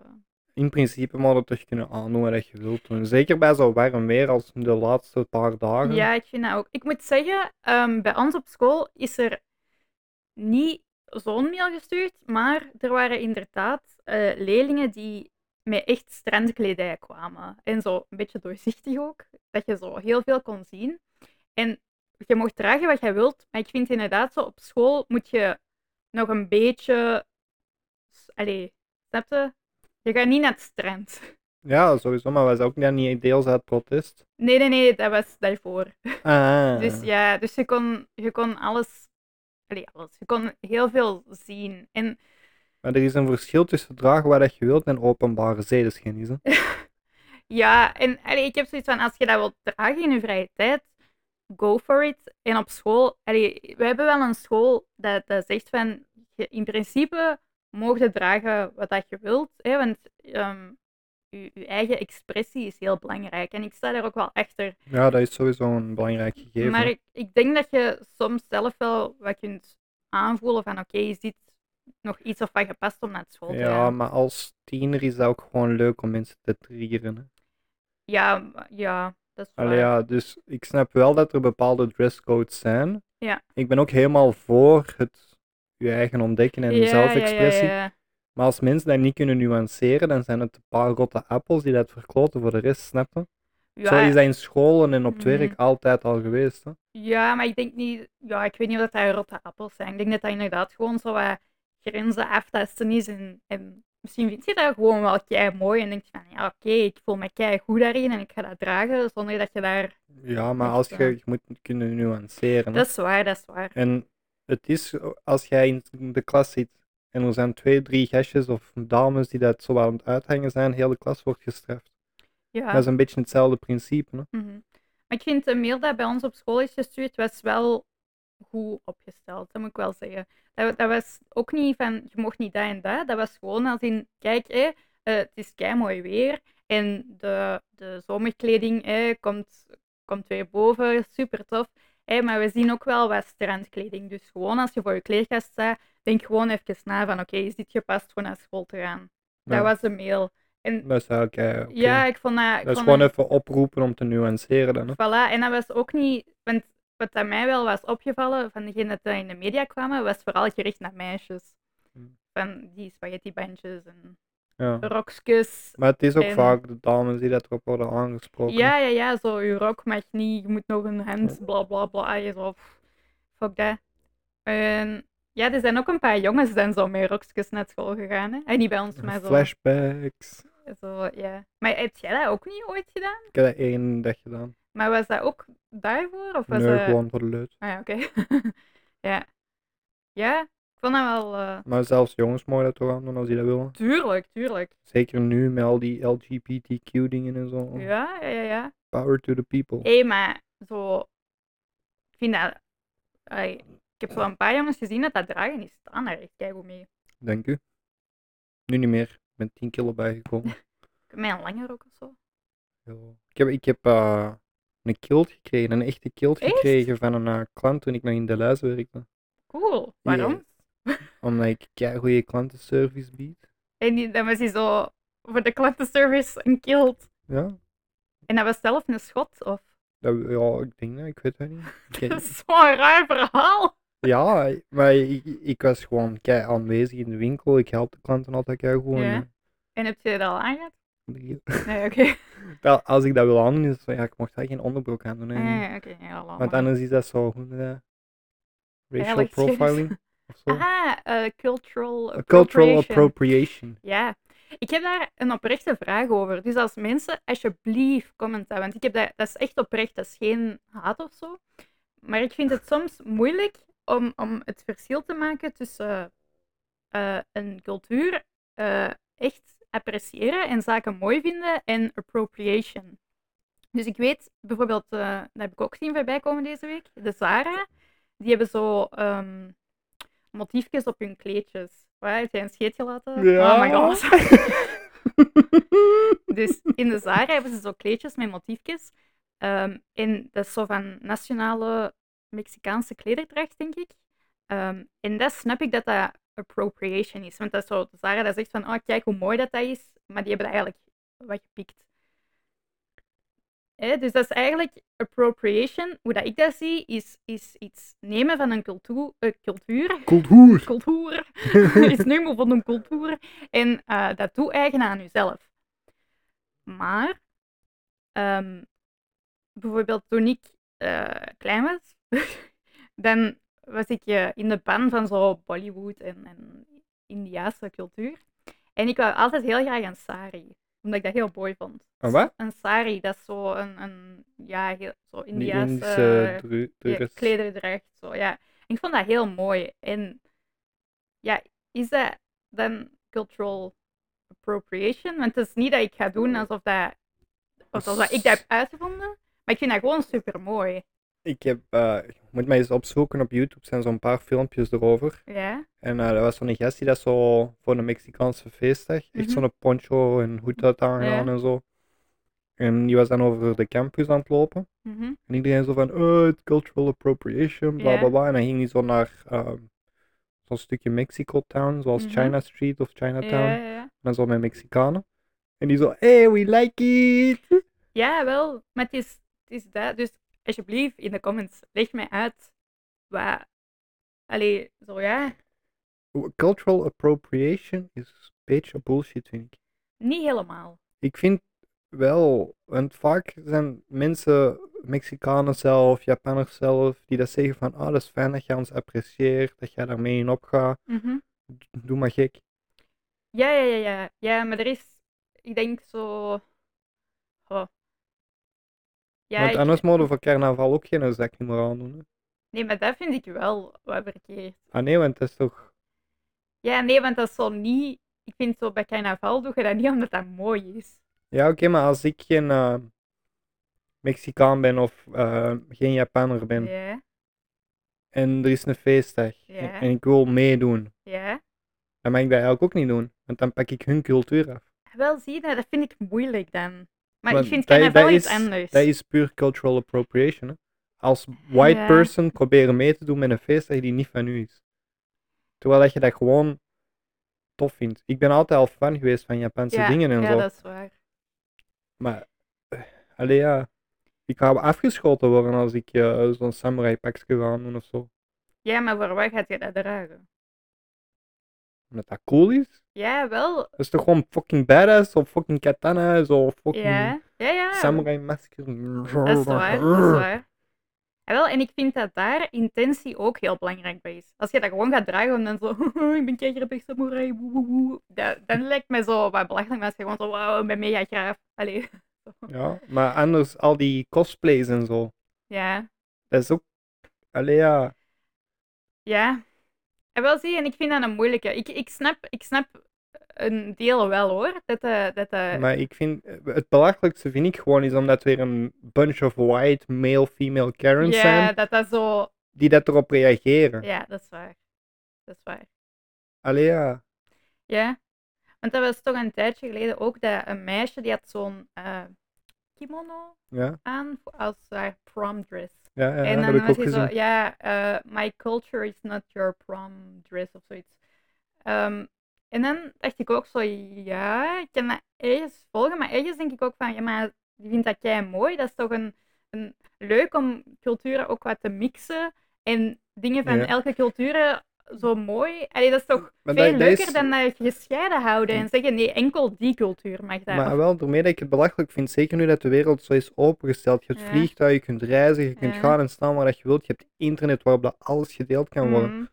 In principe moet je toch kunnen aandoen wat je wilt doen. Zeker bij zo warm weer als de laatste paar dagen. Ja, ik vind dat ook. Ik moet zeggen, ehm, bij ons op school is er niet zo'n mail gestuurd, maar er waren inderdaad eh, leerlingen die met echt strandkledij kwamen. En zo een beetje doorzichtig ook, dat je zo heel veel kon zien. En je mocht dragen wat je wilt, maar ik vind inderdaad zo op school moet je nog een beetje... s- Allee, snap je? Je gaat niet naar het strand. *laughs* Ja, sowieso, maar wij zijn ook dan niet deels uit protest. Nee, nee, nee, dat was daarvoor. Ah. Dus ja, dus je kon, je kon alles, allee, alles. Je kon heel veel zien. En Maar er is een verschil tussen dragen wat dat je wilt en openbare zedenschennis. *laughs* hè. ja, en allee, ik heb zoiets van: als je dat wilt dragen in je vrije tijd, go for it. En op school, allee, we hebben wel een school dat, dat zegt van: je, in principe mag je dragen wat dat je wilt. Hè, want ehm, je, je eigen expressie is heel belangrijk. En ik sta daar ook wel achter. Ja, dat is sowieso een belangrijk gegeven. Maar ik, ik denk dat je soms zelf wel wat kunt aanvoelen van oké, is dit nog iets of wat gepast om naar school te Ja, gaan? maar als tiener is dat ook gewoon leuk om mensen te triggeren. hè. Ja, maar- ja, dat is waar. Allee, ja, dus ik snap wel dat er bepaalde dresscodes zijn. Ja. Ik ben ook helemaal voor het je eigen ontdekken en Ja, ja, zelfexpressie. Ja, ja, Maar als mensen dat niet kunnen nuanceren, dan zijn het een paar rotte appels die dat verkloten voor de rest, snap je? ja. Zo is dat in scholen en op het Mhm. werk altijd al geweest. Hè? Ja, maar ik denk niet, ja, ik weet niet of dat daar rotte appels zijn. Ik denk dat dat inderdaad gewoon zo wat grenzen aftasten is. En, en misschien vind je dat gewoon wel kei mooi en denk je van ja, oké, ik voel me kei goed daarin en ik ga dat dragen zonder dat je daar. Ja, maar Echt als je, waar. je moet kunnen nuanceren. hè. Dat is waar, dat is waar. En het is als jij in de klas zit en er zijn twee, drie gastjes of dames die dat zo aan het uithangen zijn, heel de klas wordt gestraft. Ja. Dat is een beetje hetzelfde principe. Hè? Mhm. Maar ik vind de mail dat bij ons op school is gestuurd, was wel goed opgesteld. Dat moet ik wel zeggen. Dat, dat was ook niet van, je mocht niet dat en dat. Dat was gewoon als in, kijk, hè, eh, het is kei mooi weer. En de, de zomerkleding hè, komt, komt weer boven. Super tof. Hè, maar we zien ook wel wat strandkleding. Dus gewoon als je voor je kleerkast staat, denk gewoon even na van, oké, is dit gepast voor naar school te gaan? Ja. Dat was de mail. En Dat is eigenlijk. eh, oké. ja, ik vond dat... ik dat is vond gewoon even oproepen om te nuanceren dan. Hè? Voilà, en dat was ook niet. Want wat aan mij wel was opgevallen van degene dat in de media kwamen, was vooral gericht naar meisjes. Hmm. Van die spaghettibandjes en Ja. rokjes. Maar het is ook En- vaak de dames die dat erop worden aangesproken. Ja, ja, ja, zo, je rok mag niet, je moet nog een hand, bla bla bla. Je zo, pff, fuck dat. En ja, er zijn ook een paar jongens dan zo met rokjes naar school gegaan. Hè? En niet bij ons, maar zo. Flashbacks. zo ja. Maar heb jij dat ook niet ooit gedaan? Ik heb dat één dag gedaan. Maar was dat ook daarvoor? Of was nee, dat- gewoon voor de leut. Ah ja, oké. *laughs* ja. Ja, ik vond dat wel... eh, Maar zelfs jongens mogen dat toch aan doen als die dat willen. Tuurlijk, tuurlijk. Zeker nu met al die LGBTQ dingen en zo. Ja, ja, ja. ja. Power to the people. Hé, maar zo... vind dat... ai, ik heb zo een paar jongens gezien dat dat dragen is. Staan daar echt keigoed mee. Dank u. Nu niet meer. Ik ben 10 kilo *laughs* bijgekomen. Met een langer ook of zo. Ja. Ik heb, ik heb eh, een kilt gekregen, een echte kilt Echt? gekregen van een eh, klant toen ik nog in de luis werkte. Cool. Waarom? Omdat ik goede klantenservice bied. En die, dan was hij zo voor de klantenservice een kilt. Ja, En dat was zelf een schot, of? dat, ja ik denk dat, ik weet het niet. *laughs* Ik ken- Dat is zo'n raar verhaal. Ja, maar ik, ik was gewoon kei aanwezig in de winkel. Ik help de klanten altijd kei gewoon. Ja. En heb je dat al aangehad? Nee, oké. Als ik dat wil aan, is het van ja, ik mocht daar geen onderbroek aan doen. hè. Ah, oké, ja, laat Want maar. anders is dat zo hoe noem je dat? racial Eigenlijk serieus. profiling of zo. Aha, eh, cultural A Cultural appropriation. appropriation. Ja. Ik heb daar een oprechte vraag over. Dus als mensen, alsjeblieft, comment daar. Want ik heb dat, dat is echt oprecht, dat is geen haat of zo. Maar ik vind het soms moeilijk om, om het verschil te maken tussen eh, een cultuur eh, echt appreciëren en zaken mooi vinden en appropriation. Dus ik weet bijvoorbeeld, eh dat heb ik ook zien voorbij komen deze week, de Zara. Die hebben zo ehm, motiefjes op hun kleedjes. Waar heeft hij een scheet gelaten? Oh my god. *laughs* Dus in de Zara hebben ze zo kleedjes met motiefjes. Ehm, en dat is zo van nationale Mexicaanse klederdracht, denk ik. Ehm, en dat snap ik dat dat appropriation is. Want dat is zo, de Zara dat zegt van, oh kijk hoe mooi dat dat is. Maar die hebben dat eigenlijk wat gepikt. Hè, dus dat is eigenlijk appropriation. Hoe dat ik dat zie, is, is iets nemen van een cultuur, eh, cultuur *laughs* Cultuur. cultuur. *laughs* is nu maar van een cultuur. En eh, dat toe eigen aan jezelf. Maar, ehm, bijvoorbeeld toen ik eh, klein was, *laughs* dan was ik eh, in de pan van zo Bollywood en, en Indiaanse cultuur. En ik wou altijd heel graag een sari, omdat ik dat heel mooi vond. Een Oh, wat? Een sari, dat is zo een, een ja, heel, zo Die Indiaanse... Indische eh, dru- Ja, dress. klederdracht, zo, ja. Ik vond dat heel mooi. En ja, is dat dan cultural appropriation? Want het is niet dat ik ga doen alsof, dat, of alsof dat ik dat heb uitgevonden, maar ik vind dat gewoon super mooi. Ik heb, eh, je moet mij eens opzoeken op YouTube, zijn zo'n paar filmpjes erover. Ja, En eh, dat was zo'n gast die dat zo voor een Mexicaanse feestdag, echt Mhm. zo'n poncho en hoed had aangedaan en zo. En die was dan over de campus aan het lopen. mhm, En iedereen zo van, oh, it's cultural appropriation, bla Ja. bla bla. En dan ging hij zo naar ehm, zo'n stukje Mexico Town, zoals Mhm. China Street of Chinatown. ja, En ja, ja. dan zo met Mexicanen. En die zo, hey, we like it! Ja, wel, maar het is, het is dat. Dus alsjeblieft, in de comments, leg mij uit wat... Allee, zo ja, Cultural appropriation is een beetje bullshit, vind ik. niet helemaal. Ik vind wel, want vaak zijn mensen, Mexicanen zelf, Japanners zelf, die dat zeggen van, ah, dat is fijn dat jij ons apprecieert, dat jij daarmee in opgaat, Mhm. doe maar gek. Ja, ja, ja, ja. Ja, maar er is, ik denk zo. Oh. Ja, Want ik- anders mogen we voor carnaval ook geen zak niet meer aandoen. hè. nee, maar dat vind ik wel wat verkeerd. Ah nee, want dat is toch... Ja, nee, want dat is zo niet. Ik vind zo bij carnaval doe je dat niet omdat dat mooi is. Ja, oké, maar als ik geen eh, Mexicaan ben of eh, geen Japanner ben Ja, en er is een feestdag en, Ja. en ik wil meedoen, ja. dan mag ik dat eigenlijk ook niet doen, want dan pak ik hun cultuur af. Wel zie je, dat vind ik moeilijk dan. Maar Want ik vind dat- carnaval dat iets is- anders. Dat is puur cultural appropriation. hè. Als white Ja. person proberen mee te doen met een feestdag die niet van u is. Terwijl dat je dat gewoon tof vindt. Ik ben altijd al fan geweest van Japanse ja, dingen en ja, zo. dat is waar. Maar, eh, allee ja. Ik ga afgeschoten worden als ik eh, zo'n samurai pakje ga doen of zo. Ja, maar voor wat gaat je dat dragen? Omdat dat cool is. Ja, wel. Dat is toch gewoon fucking badass, of fucking katana, zo fucking Ja, ja, ja. samurai masker. Dat is waar, dat is waar. Ja, wel, en ik vind dat daar intentie ook heel belangrijk bij is. Als je dat gewoon gaat dragen en dan zo, *laughs* ik ben kei grappig samurai, woe, woe, woe, dat, dan lijkt mij zo wat belachelijk, maar als je gewoon zo, wauw, ik ben mega graaf. Allee. *laughs* Ja, maar anders al die cosplays en zo. Ja, Dat is ook, allee ja. Ah, ja. En wel zie, je, en ik vind dat een moeilijke. Ik, ik snap, ik snap eh, een deel wel hoor. Dat, eh dat, eh, Maar ik vind, het belachelijkste vind ik gewoon is omdat weer een bunch of white male-female Karens ja, zijn dat dat zo. die dat erop reageren. Ja, dat is waar. Dat is waar. Allee ja, Ja. Want dat was toch een tijdje geleden ook dat een meisje die had zo'n eh, kimono ja, aan voor- als haar prom-dress. ja, ja, en dan dat heb ik was ook hij zo, gezien. ja, eh, my culture is not your prom dress of zoiets. Ehm, en dan dacht ik ook zo, ja, ik kan dat ergens volgen, maar ergens denk ik ook van, ja, maar die vindt dat jij mooi. Dat is toch een, een, leuk om culturen ook wat te mixen en dingen van Ja. elke cultuur eh, zo mooi. Allee, dat is toch Maar veel dat- dat leuker is- dan dat je gescheiden houden en zeggen, nee, enkel die cultuur mag daar. Maar wel, daarmee dat ik het belachelijk vind, zeker nu dat de wereld zo is opengesteld. Je hebt Ja. vliegtuigen, je kunt reizen, je kunt Ja. gaan en staan waar dat je wilt. Je hebt internet waarop dat alles gedeeld kan worden. Mhm.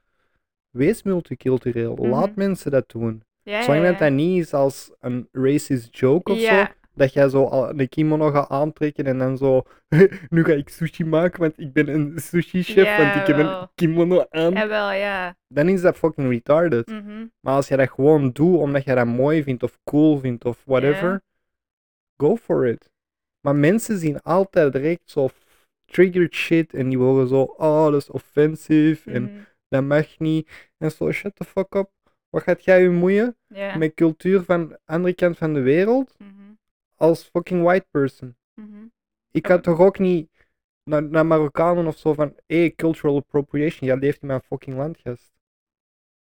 Wees multicultureel, laat Mhm. mensen dat doen. Ja, Zolang ja, dat dat niet is als een racist joke of Ja. zo, dat jij zo al een kimono gaat aantrekken en dan zo, *laughs* nu ga ik sushi maken, want ik ben een sushi-chef, want ik heb een Jawel. kimono aan. ja. Jawel, ja. Dan is dat fucking retarded. Mhm. Maar als jij dat gewoon doet omdat jij dat mooi vindt of cool vindt of whatever, go for it. Maar mensen zien altijd direct zo f- triggered shit en die worden zo, oh dat is offensief en mhm, dat mag niet. En zo, shut the fuck up. Wat gaat jij je moeien ja. met cultuur van de andere kant van de wereld Mhm, als fucking white person? mhm. Ik Ja, kan toch ook niet naar, naar Marokkanen of zo van, hé, hey, cultural appropriation, jij leeft in mijn fucking land, gast.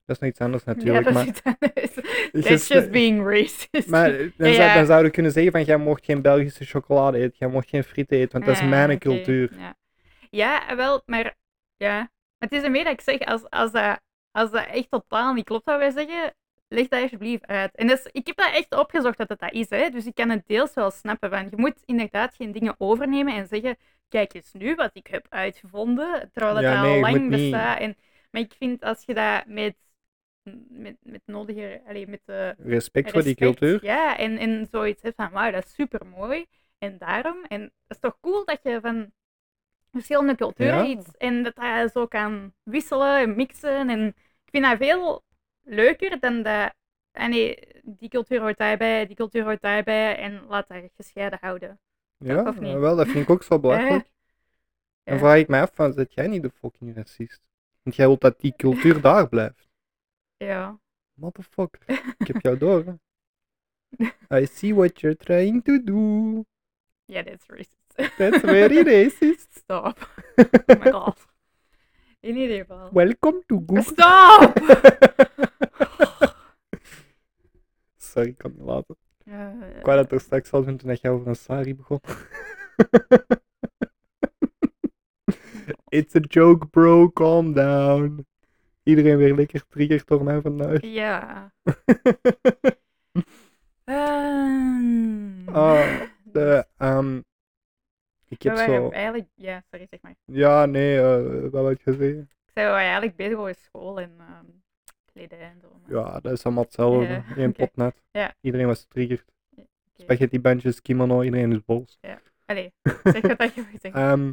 Dat is nog iets anders *laughs* natuurlijk, ja, maar... dat is iets anders. is That's het- just being racist. *laughs* Maar eh, dan, zou, Ja. dan zouden we kunnen zeggen van jij mocht geen Belgische chocolade eten, jij mocht geen frieten eten, want dat is Ah, mijn oké, cultuur. Ja. ja, wel, maar ja. Maar het is meer dat ik zeg, als, als, dat, als dat echt totaal niet klopt wat wij zeggen, leg dat alsjeblieft uit. En dus, ik heb dat echt opgezocht dat het dat is, hè. dus ik kan het deels wel snappen. Van, je moet inderdaad geen dingen overnemen en zeggen, kijk eens nu wat ik heb uitgevonden, terwijl dat Ja, al nee, je lang moet niet- bestaat. En, maar ik vind als je dat met, met, met nodige, allee, met de Respect voor die respect, cultuur. Ja, en, en zoiets hebt van, wauw, dat is super mooi. En daarom, en dat is toch cool dat je van verschillende culturen Ja. iets, en dat je zo kan wisselen en mixen. En ik vind dat veel leuker dan dat, ah nee, die cultuur hoort daarbij, die cultuur hoort daarbij, en laat dat gescheiden houden. Ja, of niet? Eh? wel, dat vind ik ook zo belachelijk. Ja. En vraag ik me af van, zet jij niet de fucking racist? Want jij wilt dat die cultuur daar blijft. Ja. Motherfucker, ik heb jou door. hè. *laughs* I see what you're trying to do. Ja, that's racist. *laughs* That's very racist. Stop. Oh my god. In ieder geval. Welcome to *laughs* Google. *laughs* Stop! Sorry, ik kan het niet laten. Ja, Ik wou dat er straks al doen toen dat jij over een sari begon. *laughs* It's a joke, bro. Calm down. Iedereen weer lekker triggerd door mij vandaag. *laughs* ja. Ehm. *laughs* Ah, De, ehm, ik heb we waren zo... eigenlijk, ja, sorry, zeg maar. Ja, nee, eh, wat wil je zeggen? Ik zei, we waren eigenlijk bezig over school en ehm kleden en zo. maar- Ja, dat is allemaal hetzelfde. Ja, Eén oké. pot net. Ja. Iedereen was getriggerd. oké. Spaghetti bandjes, kimono, iedereen is boos. Allee, *laughs* zeg wat dat je *laughs* zegt. Ehm,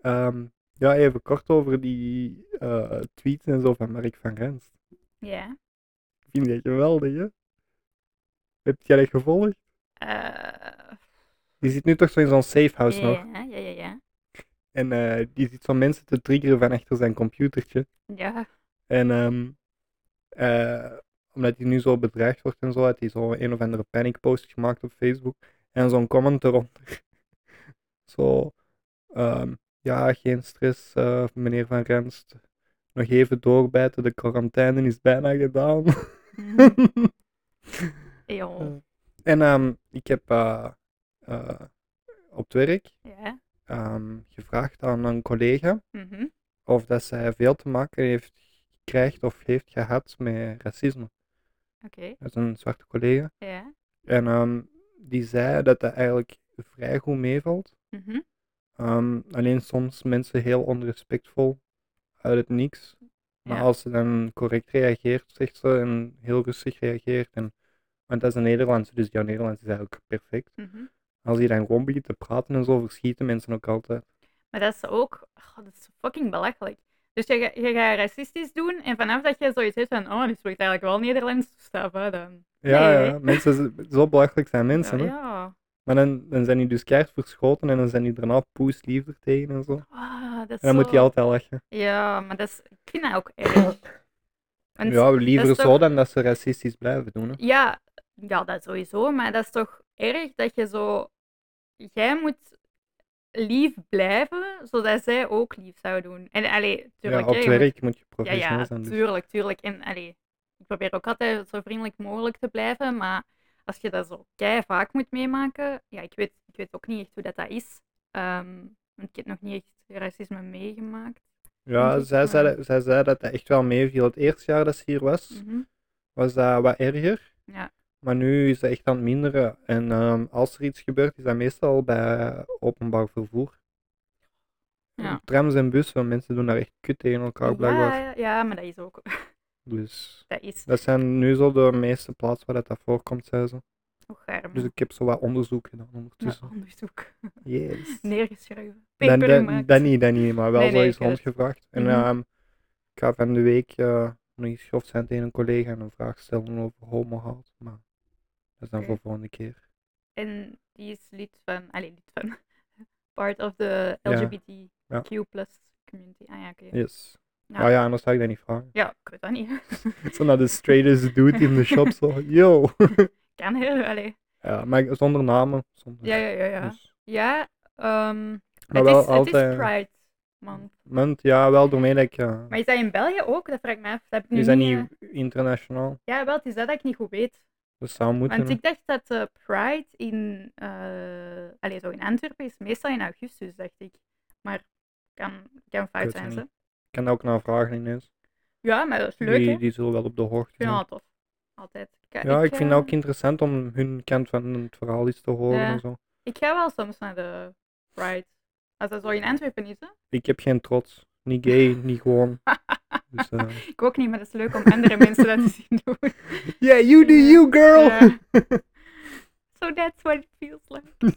ehm, ja, even kort over die eh, tweets en zo van Mark van Rens. Ja. Vind je dat geweldig, hè? Heb jij dat gevolgd? Eh, Die zit nu toch zo in zo'n safe house nog. ja, ja, ja, ja. En eh, die zit zo mensen te triggeren van achter zijn computertje. Ja, En ehm, eh, omdat hij nu zo bedreigd wordt en zo, had hij zo een of andere panic post gemaakt op Facebook. En zo'n comment eronder. *laughs* zo, ehm, ja, geen stress, eh, meneer Van Renst. Nog even doorbijten, de quarantaine is bijna gedaan. Mhm. *laughs* Eh. joh. En ehm, ik heb eh, eh, op het werk Ja. ehm, gevraagd aan een collega mhm. of dat zij veel te maken heeft, krijgt of heeft gehad met racisme. Oké, Dat is een zwarte collega. ja. En ehm, die zei dat dat eigenlijk vrij goed meevalt. mhm. Ehm, alleen soms mensen heel onrespectvol uit het niks. Maar Ja. als ze dan correct reageert, zegt ze, en heel rustig reageert. En, want dat is een Nederlandse, dus jouw Nederlands is eigenlijk perfect. mhm. Als hij dan gewoon begint te praten en zo, verschieten mensen ook altijd. Maar dat is ook, oh, dat is fucking belachelijk. Dus je, ga- je gaat racistisch doen en vanaf dat je zoiets hebt van, oh, die spreekt eigenlijk wel Nederlands, dus dat wat dan. Ja, Nee. ja, mensen, z- zo belachelijk zijn mensen. Ja, hè. ja. Maar dan, dan zijn die dus keihard verschoten en dan zijn die daarna poesliever tegen en zo. En Ah, dat is dan moet zo- die altijd lachen. Ja, maar dat is, ik vind dat ook *coughs* erg. Want- ja, liever dat is zo toch- dan dat ze racistisch blijven doen. Hè. ja, ja, dat sowieso, maar dat is toch erg dat je zo... Jij moet lief blijven, zodat zij ook lief zou doen. En allee, Ja, tuurlijk, op hè, het je moet- werk moet je Ja, professioneel ja, zijn. dus. tuurlijk, tuurlijk. En allee, ik probeer ook altijd zo vriendelijk mogelijk te blijven, maar als je dat zo kei vaak moet meemaken, ja, ik weet, ik weet ook niet echt hoe dat, dat is. Ehm, want ik heb nog niet echt racisme meegemaakt. Ja, Moet ik zij zei, maar- dat- zij zei dat dat echt wel meeviel. Het eerste jaar dat ze hier was, Mhm. was dat wat erger. Ja. Maar nu is dat echt aan het minderen. En ehm, als er iets gebeurt, is dat meestal bij openbaar vervoer. Ja. Trams en bussen, mensen doen daar echt kut tegen elkaar blijkbaar. ja, ja, maar dat is ook. Dus Dat is dat zijn nu zo de meeste plaatsen waar dat, dat voorkomt, zei ze. nog arm. Dus ik heb zo wat onderzoek gedaan ja, ondertussen. onderzoek. *laughs* Yes. Neergeschreven. Dan, Paper dan, gemaakt. dan niet, dan niet, maar wel Nee, zo nee, eens ik weet het. rondgevraagd. En Mhm. ehm, ik ga van de week eh, nog iets grof zijn tegen een collega en een vraag stellen over homohaat. Maar dat is dan Oké. voor volgende keer. En die is lid van, alleen lid van, *laughs* part of the Ja. LGBTQ community. Ah ja, oké. Yes. Ja. Nou ja, anders zou ik dat niet vragen. *laughs* Ja, ik weet dat niet. *laughs* Zo naar de straightest dude in de shop, zo, *laughs* yo. kan heel, allee. ja, maar zonder namen. Zonder, Ja, ja, ja, ja. Dus, Ja, ehm, maar het, wel is, het altijd. is Pride Month. munt, ja, wel doormee dat ik. eh, Maar is dat in België ook? Dat vraag ik me af. Dat heb ik nu is dat niet, niet internationaal? eh, Ja, wel, het is dat dat ik niet goed weet. Dat zou moeten. Want hè. ik dacht dat eh, Pride in, eh allee, zo in Antwerpen is meestal in augustus, dacht ik. Maar kan, kan fout weet zijn, het ze. niet. Ik kan daar ook naar vragen ineens. Ja, maar dat is leuk, hè? die, Ik die zullen wel op de hoogte vind zijn. het wel tof. Altijd. ga- Ja, ik vind het eh, ook interessant om hun kant van het verhaal iets te horen Ja. en zo. Ik ga wel soms naar de Pride. Als dat zo in Antwerpen is, hè? Ik heb geen trots. Niet *laughs* gay, niet gewoon. Dus, eh, Ik ook niet, maar dat is leuk om andere *laughs* mensen dat te zien doen. yeah, you do Ja. you, *laughs* girl! *laughs* Ja. So that's what it feels like.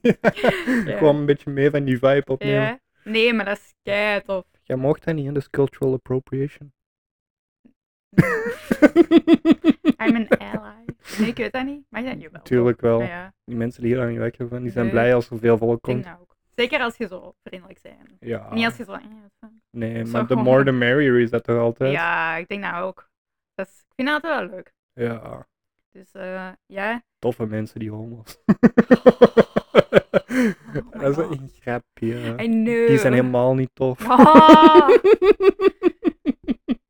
Ik kwam een beetje meer van die vibe opnemen. Ja. Nee, maar dat is kei tof. Jij mocht dat niet, hè? dat is cultural appropriation. *laughs* I'm an ally. Nee, ik weet dat niet. Maar ja, jawel. *laughs* Tuurlijk wel. toch? Ja, ja, Die mensen die hier aan je werk hebben, die zijn Nee. blij als er veel volk ik denk komt. Ah. dat ook. Zeker als je zo vriendelijk bent. Ja, Niet als je zo... eh, zo. nee, zo maar the gewoon- more the merrier is dat toch altijd? Ja, ik denk dat ook. Dat is, ik vind dat altijd wel leuk. Ja, Dus eh, ja, toffe mensen die *laughs* homo's. Oh Oh my dat is God. een grapje. I know. Die zijn *laughs* helemaal niet tof. *laughs*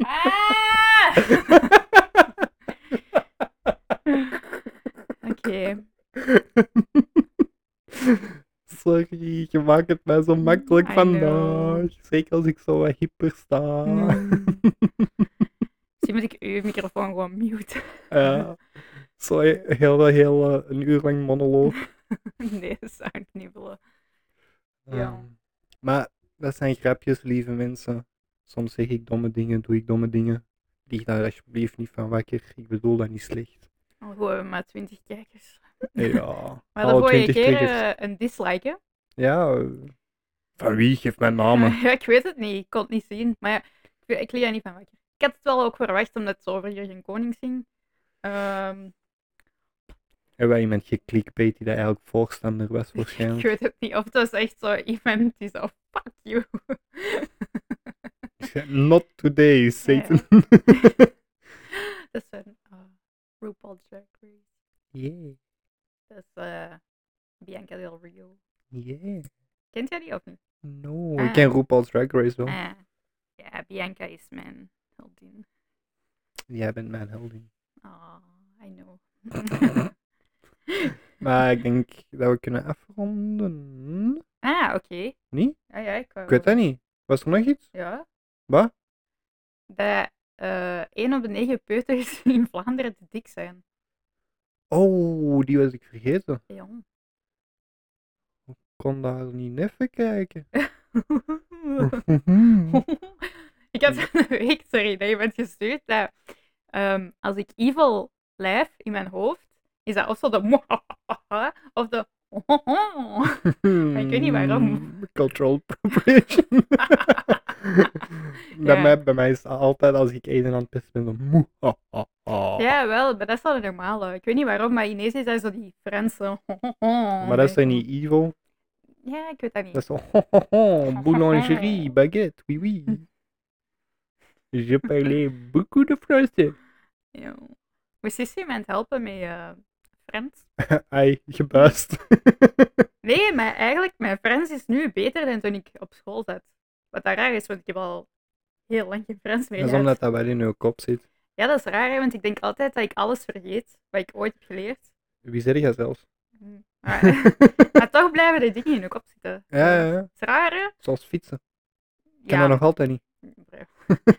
Ah! *laughs* Ah! Oké. *laughs* Sorry, je maakt het mij zo makkelijk Mm, I vandaag. Zeker als ik zo wat hyper sta. *laughs* Mm. Misschien moet ik uw microfoon gewoon muten. *laughs* Ja. zo he- heel, heel eh, een uur lang monoloog. Nee, dat zou ik niet willen. Ja. Ehm, maar dat zijn grapjes, lieve mensen. Soms zeg ik domme dingen, doe ik domme dingen. Lieg daar alsjeblieft niet van wakker. Ik bedoel dat niet *laughs* slecht. Al gewoon hebben we maar 20 kijkers. Ja, Maar de alle vorige 20 keer triggers. eh, een dislike, hè? Ja, eh, van wie? Geef mijn *laughs* namen. Ja, ik weet het niet. Ik kon het niet zien. Maar ja, ik, weet- ik liet daar niet van wakker. Ik had het wel ook verwacht, omdat het over Jurgen Konings ging. Ehm, Hebben wij iemand geklikbeet die daar eigenlijk voorstander was ik waarschijnlijk? weet het niet. Of het was echt zo iemand die zo, fuck you. *laughs* *laughs* Not *laughs* today, Satan. *laughs* dat is een eh, RuPaul Drag Race. Yeah, Dat is eh, Bianca Del Rio. yeah. Kent jij die of niet? No, Ah. ik ken RuPaul's Drag Race wel. Ah, ja, Bianca is mijn heldin. Jij bent mijn *laughs* heldin. Oh, I know. *laughs* Maar ik denk dat we kunnen afronden. ah, oké. Ah, Niet? Ja, ja, ik, wou- Ik weet dat niet. Was er nog iets? Ja. Wat? Dat eh 1 op de 9 peuters *laughs* in Vlaanderen te dik zijn. Oh, die was ik vergeten. Jong. *laughs* Ik kon daar niet *laughs* even kijken. ik had van de week, sorry, dat je bent gestuurd, dat ehm, als ik evil lijf in mijn hoofd, is dat of zo de *laughs* of de *laughs* ik weet niet waarom. *laughs* *laughs* Cultural appropriation. Bij, Ja. mij, bij mij is het altijd als ik eten aan het pissen ben, zo moe. ha, ha, ha. Ja, wel, maar dat is wel normaal. Ik weet niet waarom, maar ineens is dat zo die Franse. Ah, Maar dat is dan niet evil? Ja, ik weet dat Dat is niet. zo, ho, ho, ho, *laughs* boulangerie, baguette, oui oui. Je parlais beaucoup de français. Ja. Moest Sissy me aan het helpen met eh, Frans? Ai, gebuist. Nee, maar eigenlijk, mijn Frans is nu beter dan toen ik op school zat. Wat daar raar is, want ik heb al heel lang geen Frans meer dat is gehad. omdat dat wel in uw kop zit. Ja, dat is raar, hè, want ik denk altijd dat ik alles vergeet wat ik ooit heb geleerd. Mm, Wie zeg je zelfs? *laughs* Maar, *laughs* maar toch blijven de dingen in je kop zitten. ja, ja, ja. Het is raar, hè? Zoals fietsen. Ik kan Ja, dat nog altijd niet. Bref. *laughs*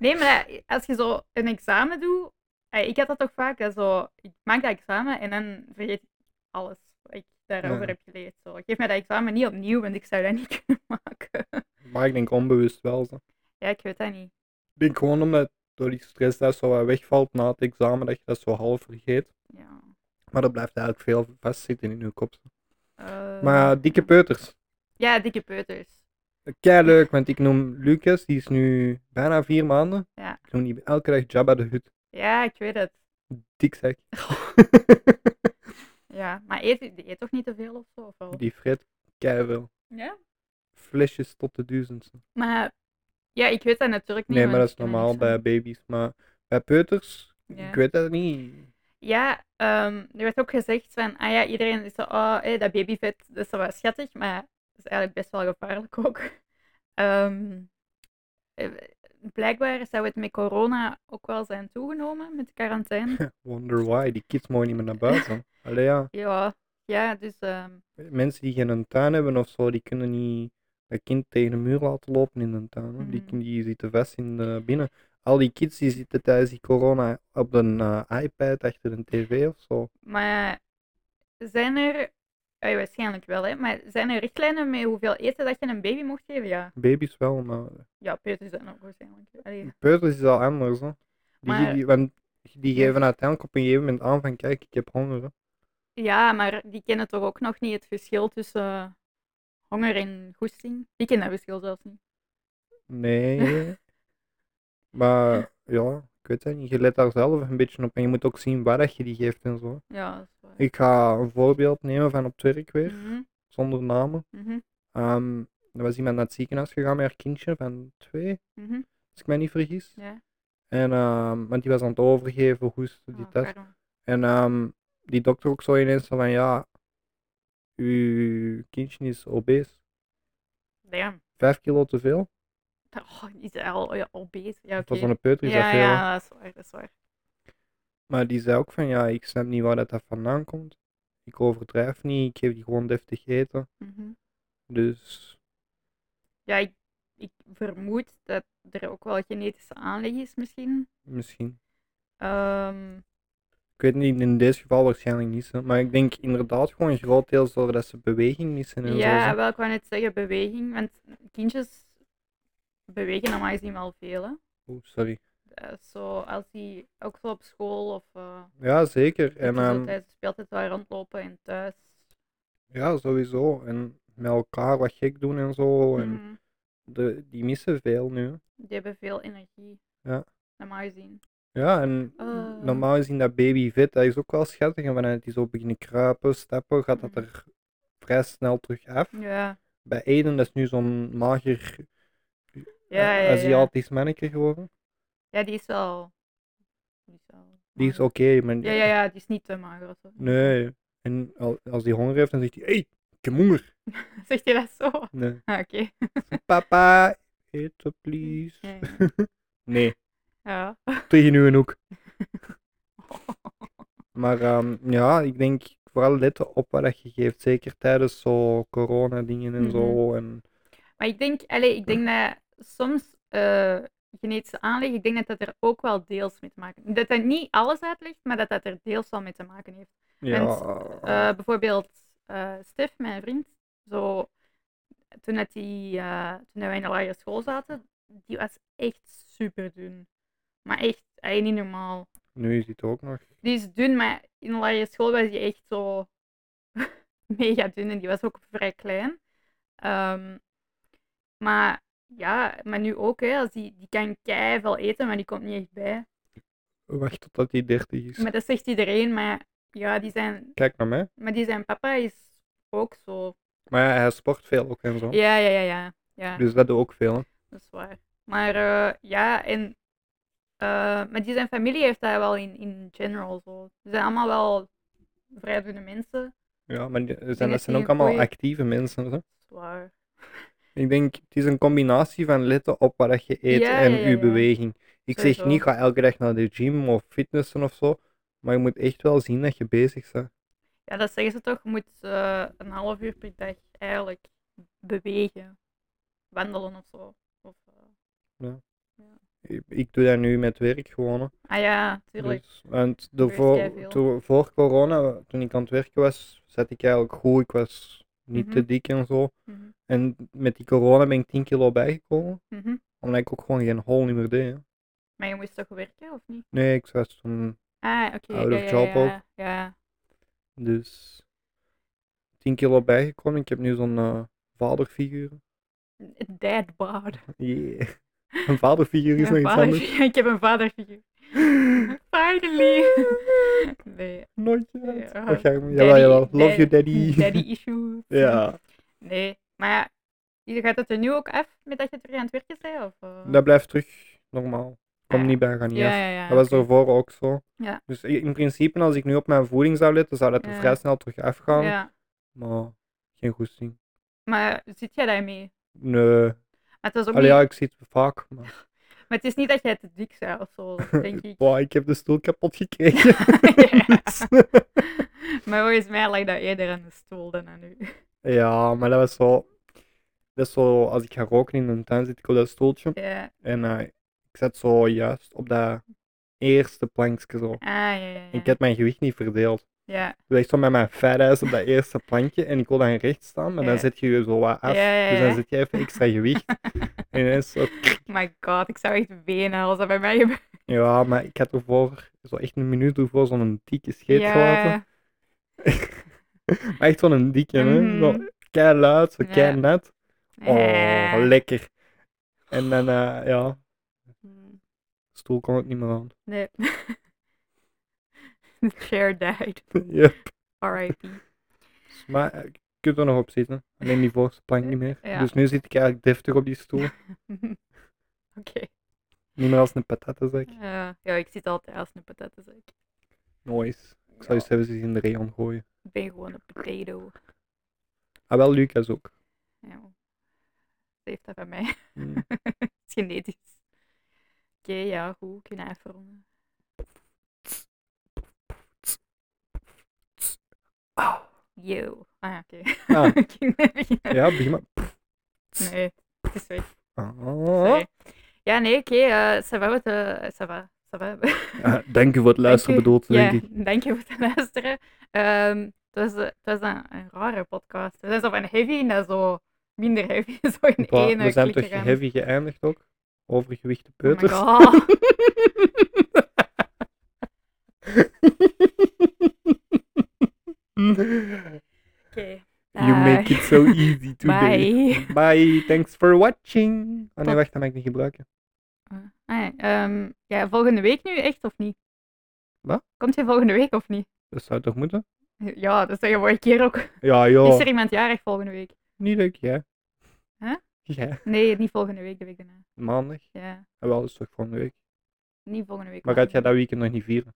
Nee, maar dat- als je zo een examen doet, eh, ik had dat toch vaak, dat zo, ik maak dat examen en dan vergeet ik alles wat ik daarover Ja. heb geleerd. Zo. Geef mij dat examen niet opnieuw, want ik zou dat niet *laughs* kunnen maken. Maar ik denk onbewust wel. Zo. Ja, ik weet dat niet. Ik denk gewoon omdat door die stress dat zo wat wegvalt na het examen, dat je dat zo half vergeet. Ja. Maar dat blijft eigenlijk veel vastzitten in uw kop. zo. Eh, Maar dikke peuters. Ja, dikke peuters. Kei leuk, want ik noem Lucas, die is nu bijna vier maanden. Ja. Ik noem die elke dag Jabba de Hut. Ja, ik weet het. Dik *laughs* zeg. Ja, maar eet, die eet toch niet te veel of zo? Of wel? die fret kei veel. Ja? Flesjes tot de duizend. Maar ja, ik weet dat natuurlijk niet. Nee, want maar dat ik is ken er normaal niks van. bij baby's. Maar bij peuters, Ja. ik weet dat niet. Ja, ehm, er werd ook gezegd van, ah ja, iedereen is zo, oh, hé, dat babyvet, dat is wel schattig, maar dat is eigenlijk best wel gevaarlijk ook. *laughs* Ehm, eh, blijkbaar zou het met corona ook wel zijn toegenomen, met de quarantaine. *laughs* Wonder why, die kids mogen niet meer naar *laughs* buiten. Allee ja, Ja, ja, dus ehm, mensen die geen tuin hebben of zo, die kunnen niet dat kind tegen een muur laten lopen in een tuin. hoor. Die, Mhm. die zitten vast in de binnen. Al die kids die zitten tijdens die corona op een eh, iPad achter een tv of zo. maar zijn er, eh, waarschijnlijk wel, hè, maar zijn er richtlijnen met hoeveel eten dat je een baby mocht geven? Ja, Baby's wel, maar ja, peuters zijn ook waarschijnlijk. Allee, peuters is al anders. Hè. Die, Maar- die, want die geven uiteindelijk op een gegeven moment aan van kijk, ik heb honger. hè. Ja, maar die kennen toch ook nog niet het verschil tussen eh, honger en goesting? Die kennen dat verschil zelfs niet. Nee. maar ja, ik weet het niet. Je let daar zelf een beetje op. En je moet ook zien waar dat je die geeft en zo. Ja, dat is waar. Ik ga een voorbeeld nemen van op het werk weer, Mhm, zonder namen. mhm, Ehm er was iemand naar het ziekenhuis gegaan met haar kindje van twee, mhm. als ik mij niet vergis. Ja. En, ehm, want die was aan het overgeven, hoesten, die Ah, dat. pardon. En ehm, die dokter ook zo ineens zo van ja, uw kindje is obese. Damn. Vijf kilo te veel. Oh, is hij al ja, obese? Ja, oké. Voor zo'n peuter is dat Ja, veel. hè. ja, dat is waar, dat is waar. Maar die zei ook van ja, ik snap niet waar dat, dat vandaan komt. Ik overdrijf niet, ik geef die gewoon deftig eten. Mhm. Dus Ja, ik, ik vermoed dat er ook wel genetische aanleg is misschien. misschien. Ehm, Ik weet niet, in dit geval waarschijnlijk niet. hè. Maar ik denk inderdaad gewoon grotendeels doordat ze beweging missen en zo. ja, zo. wel, ik wou net zeggen beweging, want kindjes bewegen normaal gezien wel veel, hè. Oeh, sorry. Eh, zo, als die ook zo op school of eh, Ja, zeker. dat En die zo ehm, tijdens de speeltijd wel rondlopen en thuis. ja, sowieso. En met elkaar wat gek doen en zo. En Mhm. de, die missen veel nu. hè. Die hebben veel energie. Ja. Normaal gezien. Ja, en Ah. normaal gezien dat baby vet, dat is ook wel schattig. En vanuit die zo beginnen kruipen, stappen, gaat dat Mhm. er vrij snel terug af. Ja. bij Eden, dat is nu zo'n mager Ja, eh, ja, ja. Aziatisch mannetje geworden. Ja, die is wel... Die is, wel Die is mager. oké, maar Ja, ja, ja, die is niet te mager of zo. *laughs* nee. En al- als hij honger heeft, dan zegt hij, hey, ik heb honger. Zegt je dat zo? *laughs* Ah, Nee. Oké. Papa, eten please. Ja, ja. Nee, Ja. tegen nu een hoek. *laughs* Maar ehm, ja, ik denk vooral letten op wat dat je geeft. Zeker tijdens zo corona dingen en Mhm. zo. En, Maar ik denk, allee, ik denk dat soms eh, genetische aanleg, ik denk dat dat er ook wel deels mee te maken Dat dat niet alles uitlegt, maar dat dat er deels wel mee te maken heeft. ja, Eh, bijvoorbeeld eh Stef, mijn vriend, zo, toen, dat die, eh, toen dat wij in de lagere school zaten, die was echt super dun. Maar echt, hij niet normaal. nu is het ook nog. Die is dun, maar in de lagere school was die echt zo *laughs* mega dun en die was ook vrij klein. Ehm, maar Ja, maar nu ook, hè. Als die, die kan kei veel eten, maar die komt niet echt bij. Wacht totdat hij 30 is. Maar dat zegt iedereen, maar ja, die zijn, Kijk naar mij. maar die zijn papa is ook zo. Maar ja, hij sport veel ook en zo. Ja, ja, ja, ja. ja. Dus dat doet ook veel. Hè. Dat is waar. Maar eh, ja, en. eh, maar die zijn familie heeft daar wel in, in general zo. Ze zijn allemaal wel vrij dunne mensen. Dat Ja, maar die- zijn, dat dat zijn die ook allemaal goeie- actieve mensen. Hè. is waar. Ik denk, het is een combinatie van letten op wat dat je eet Ja, en ja, ja, je ja. beweging. Ik zeg Sowieso. niet, ga elke dag naar de gym of fitnessen of zo. Maar je moet echt wel zien dat je bezig bent. Ja, dat zeggen ze toch. Je moet eh, een half uur per dag eigenlijk bewegen. Wandelen of zo. Of, eh, Ik, ik doe dat nu met werk gewoon. hè. ah ja, tuurlijk. Dus, want Er is daarvoor- keiveel. toen- voor corona, toen ik aan het werken was, zat ik eigenlijk goed. Ik was niet te Mhm. dik en zo. Mhm. En met die corona ben ik 10 kilo bijgekomen. Mhm. Omdat ik ook gewoon geen hol niet meer deed. hè. Maar je moest toch werken of niet? Nee, ik was toen Ah, oké. Out ja, ja, of job ja, ook. Ja. dus 10 kilo bijgekomen. Ik heb nu zo'n eh, vaderfiguur. Dad bod. *laughs* Yeah. Een vaderfiguur is nog Een iets anders. vaderfiguur. *laughs* Ik heb een *laughs* vaderfiguur. Finally. *laughs* Nee. Nooit. eh. Ja, Ja, jawel, daddy- jawel. Love daddy- you, daddy. *laughs* Daddy issues. Ja, *laughs* Nee, maar ja, je gaat het er nu ook af met dat je terug aan het werken bent? Of, eh? *laughs* dat blijft terug normaal. Kom Ja. niet bij, ga niet ja, af. ja, ja. Dat was oké. daarvoor ook zo. Ja. Dus i- in principe, als ik nu op mijn voeding zou letten, zou dat er Ja. vrij snel terug afgaan. Ja, Maar geen goesting. maar zit jij daarmee? Nee. Maar het, was ook Allee, niet, ja, ik zie het vaak. Maar... maar het is niet dat jij te dik bent of *laughs* zo, denk ik. Wow, ik heb de stoel kapot gekregen. *laughs* *laughs* Ja. Maar volgens mij lag dat eerder aan de stoel dan aan u. ja, maar dat was zo. Dat is zo, als ik ga roken in een tuin, zit ik op dat stoeltje. Ja, En eh, ik zat zo juist op dat eerste plankje zo. ah, ja, ja. ja. Ik had mijn gewicht niet verdeeld. ja. Dus ik stond met mijn fat ass op dat eerste plankje en ik wil dan recht staan, maar dan Ja. zet je je zo wat af. Ja, ja, Dus dan ja. zet je even extra *laughs* gewicht. En ineens zo, My god, ik zou echt wenen als dat bij mij gebeurt. ja, maar ik had ervoor, zo echt een minuut ervoor, zo'n dikke scheet ja. gelaten. *laughs* Maar echt zo'n dikke, hè. Zo Mhm. kei luid, zo kei Ja. net. Oh, Ja. lekker. En dan, eh, ja, Mm. stoel kon het niet meer aan. *laughs* Nee. *laughs* The chair died. Yep. *laughs* R.I.P. Maar eh, je kunt er nog op zitten. Alleen die voorste plank niet meer. Ja. Dus nu zit ik eigenlijk deftig op die stoel. Oké. Niet meer als een patatenzak. Eh, ja, ik zit altijd als een patatenzak. Nice. Ik zou je zelfs eens in de rayon gooien. Ik ben gewoon een potato. Ah, wel Lucas ook. Ja. Dat heeft dat bij mij. Mm. Het is *laughs* genetisch. Oké, ja, goed. Kunnen afronden. Yo. Ah, oké. *laughs* Ah, Ik ging net beginnen. ja, begin maar. Nee, het is weg. Ah. Sorry. Ja, nee, oké. eh ça va, wat, eh, ça va. Ça va. *laughs* Ah, dank u voor het luisteren, Dank u. bedoeld, Ja, denk ik. dank je voor het luisteren. Ehm, het was, eh, het was een, een rare podcast. We zijn zo van heavy naar zo minder heavy. *laughs* Zo in Bah, één we eh, zijn klik toch gegaan. heavy geëindigd ook? Overgewichte Oh my peuters. god. Oké. *laughs* you Ah. make it *laughs* so easy today. Bye. Bye, thanks for watching. Oh nee, wacht, dat mag ik niet gebruiken. *laughs* Ah, ja, ehm, ja, volgende week nu echt of niet? Wat? Komt je volgende week of niet? Dat zou toch moeten? Ja, dat zei je vorige keer ook. Ja, Is joh. er iemand jarig volgende week? Niet leuk, ja. Huh? Ja, Nee, niet volgende week, de week daarna. maandag. Ja, Ah, wel, dat is toch volgende week. niet volgende week. Maar gaat jij dat weekend nog niet *laughs* vieren?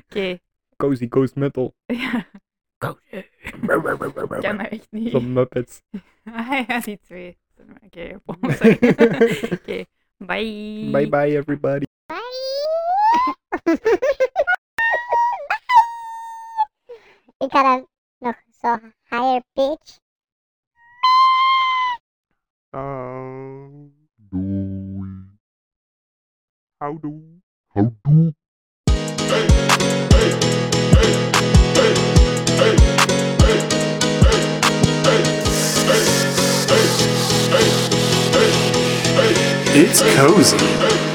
*laughs* Oké. Cozy Coast Metal. Ja. Ik kan dat echt niet. *laughs* Van Muppets. Ah, ja, die twee. Oké, *laughs* op ons. *laughs* Oké, bye. Bye bye, everybody. Ik had hem nog zo higher pitch. Oh. Doei. Houdoe. Houdoe. It's cozy.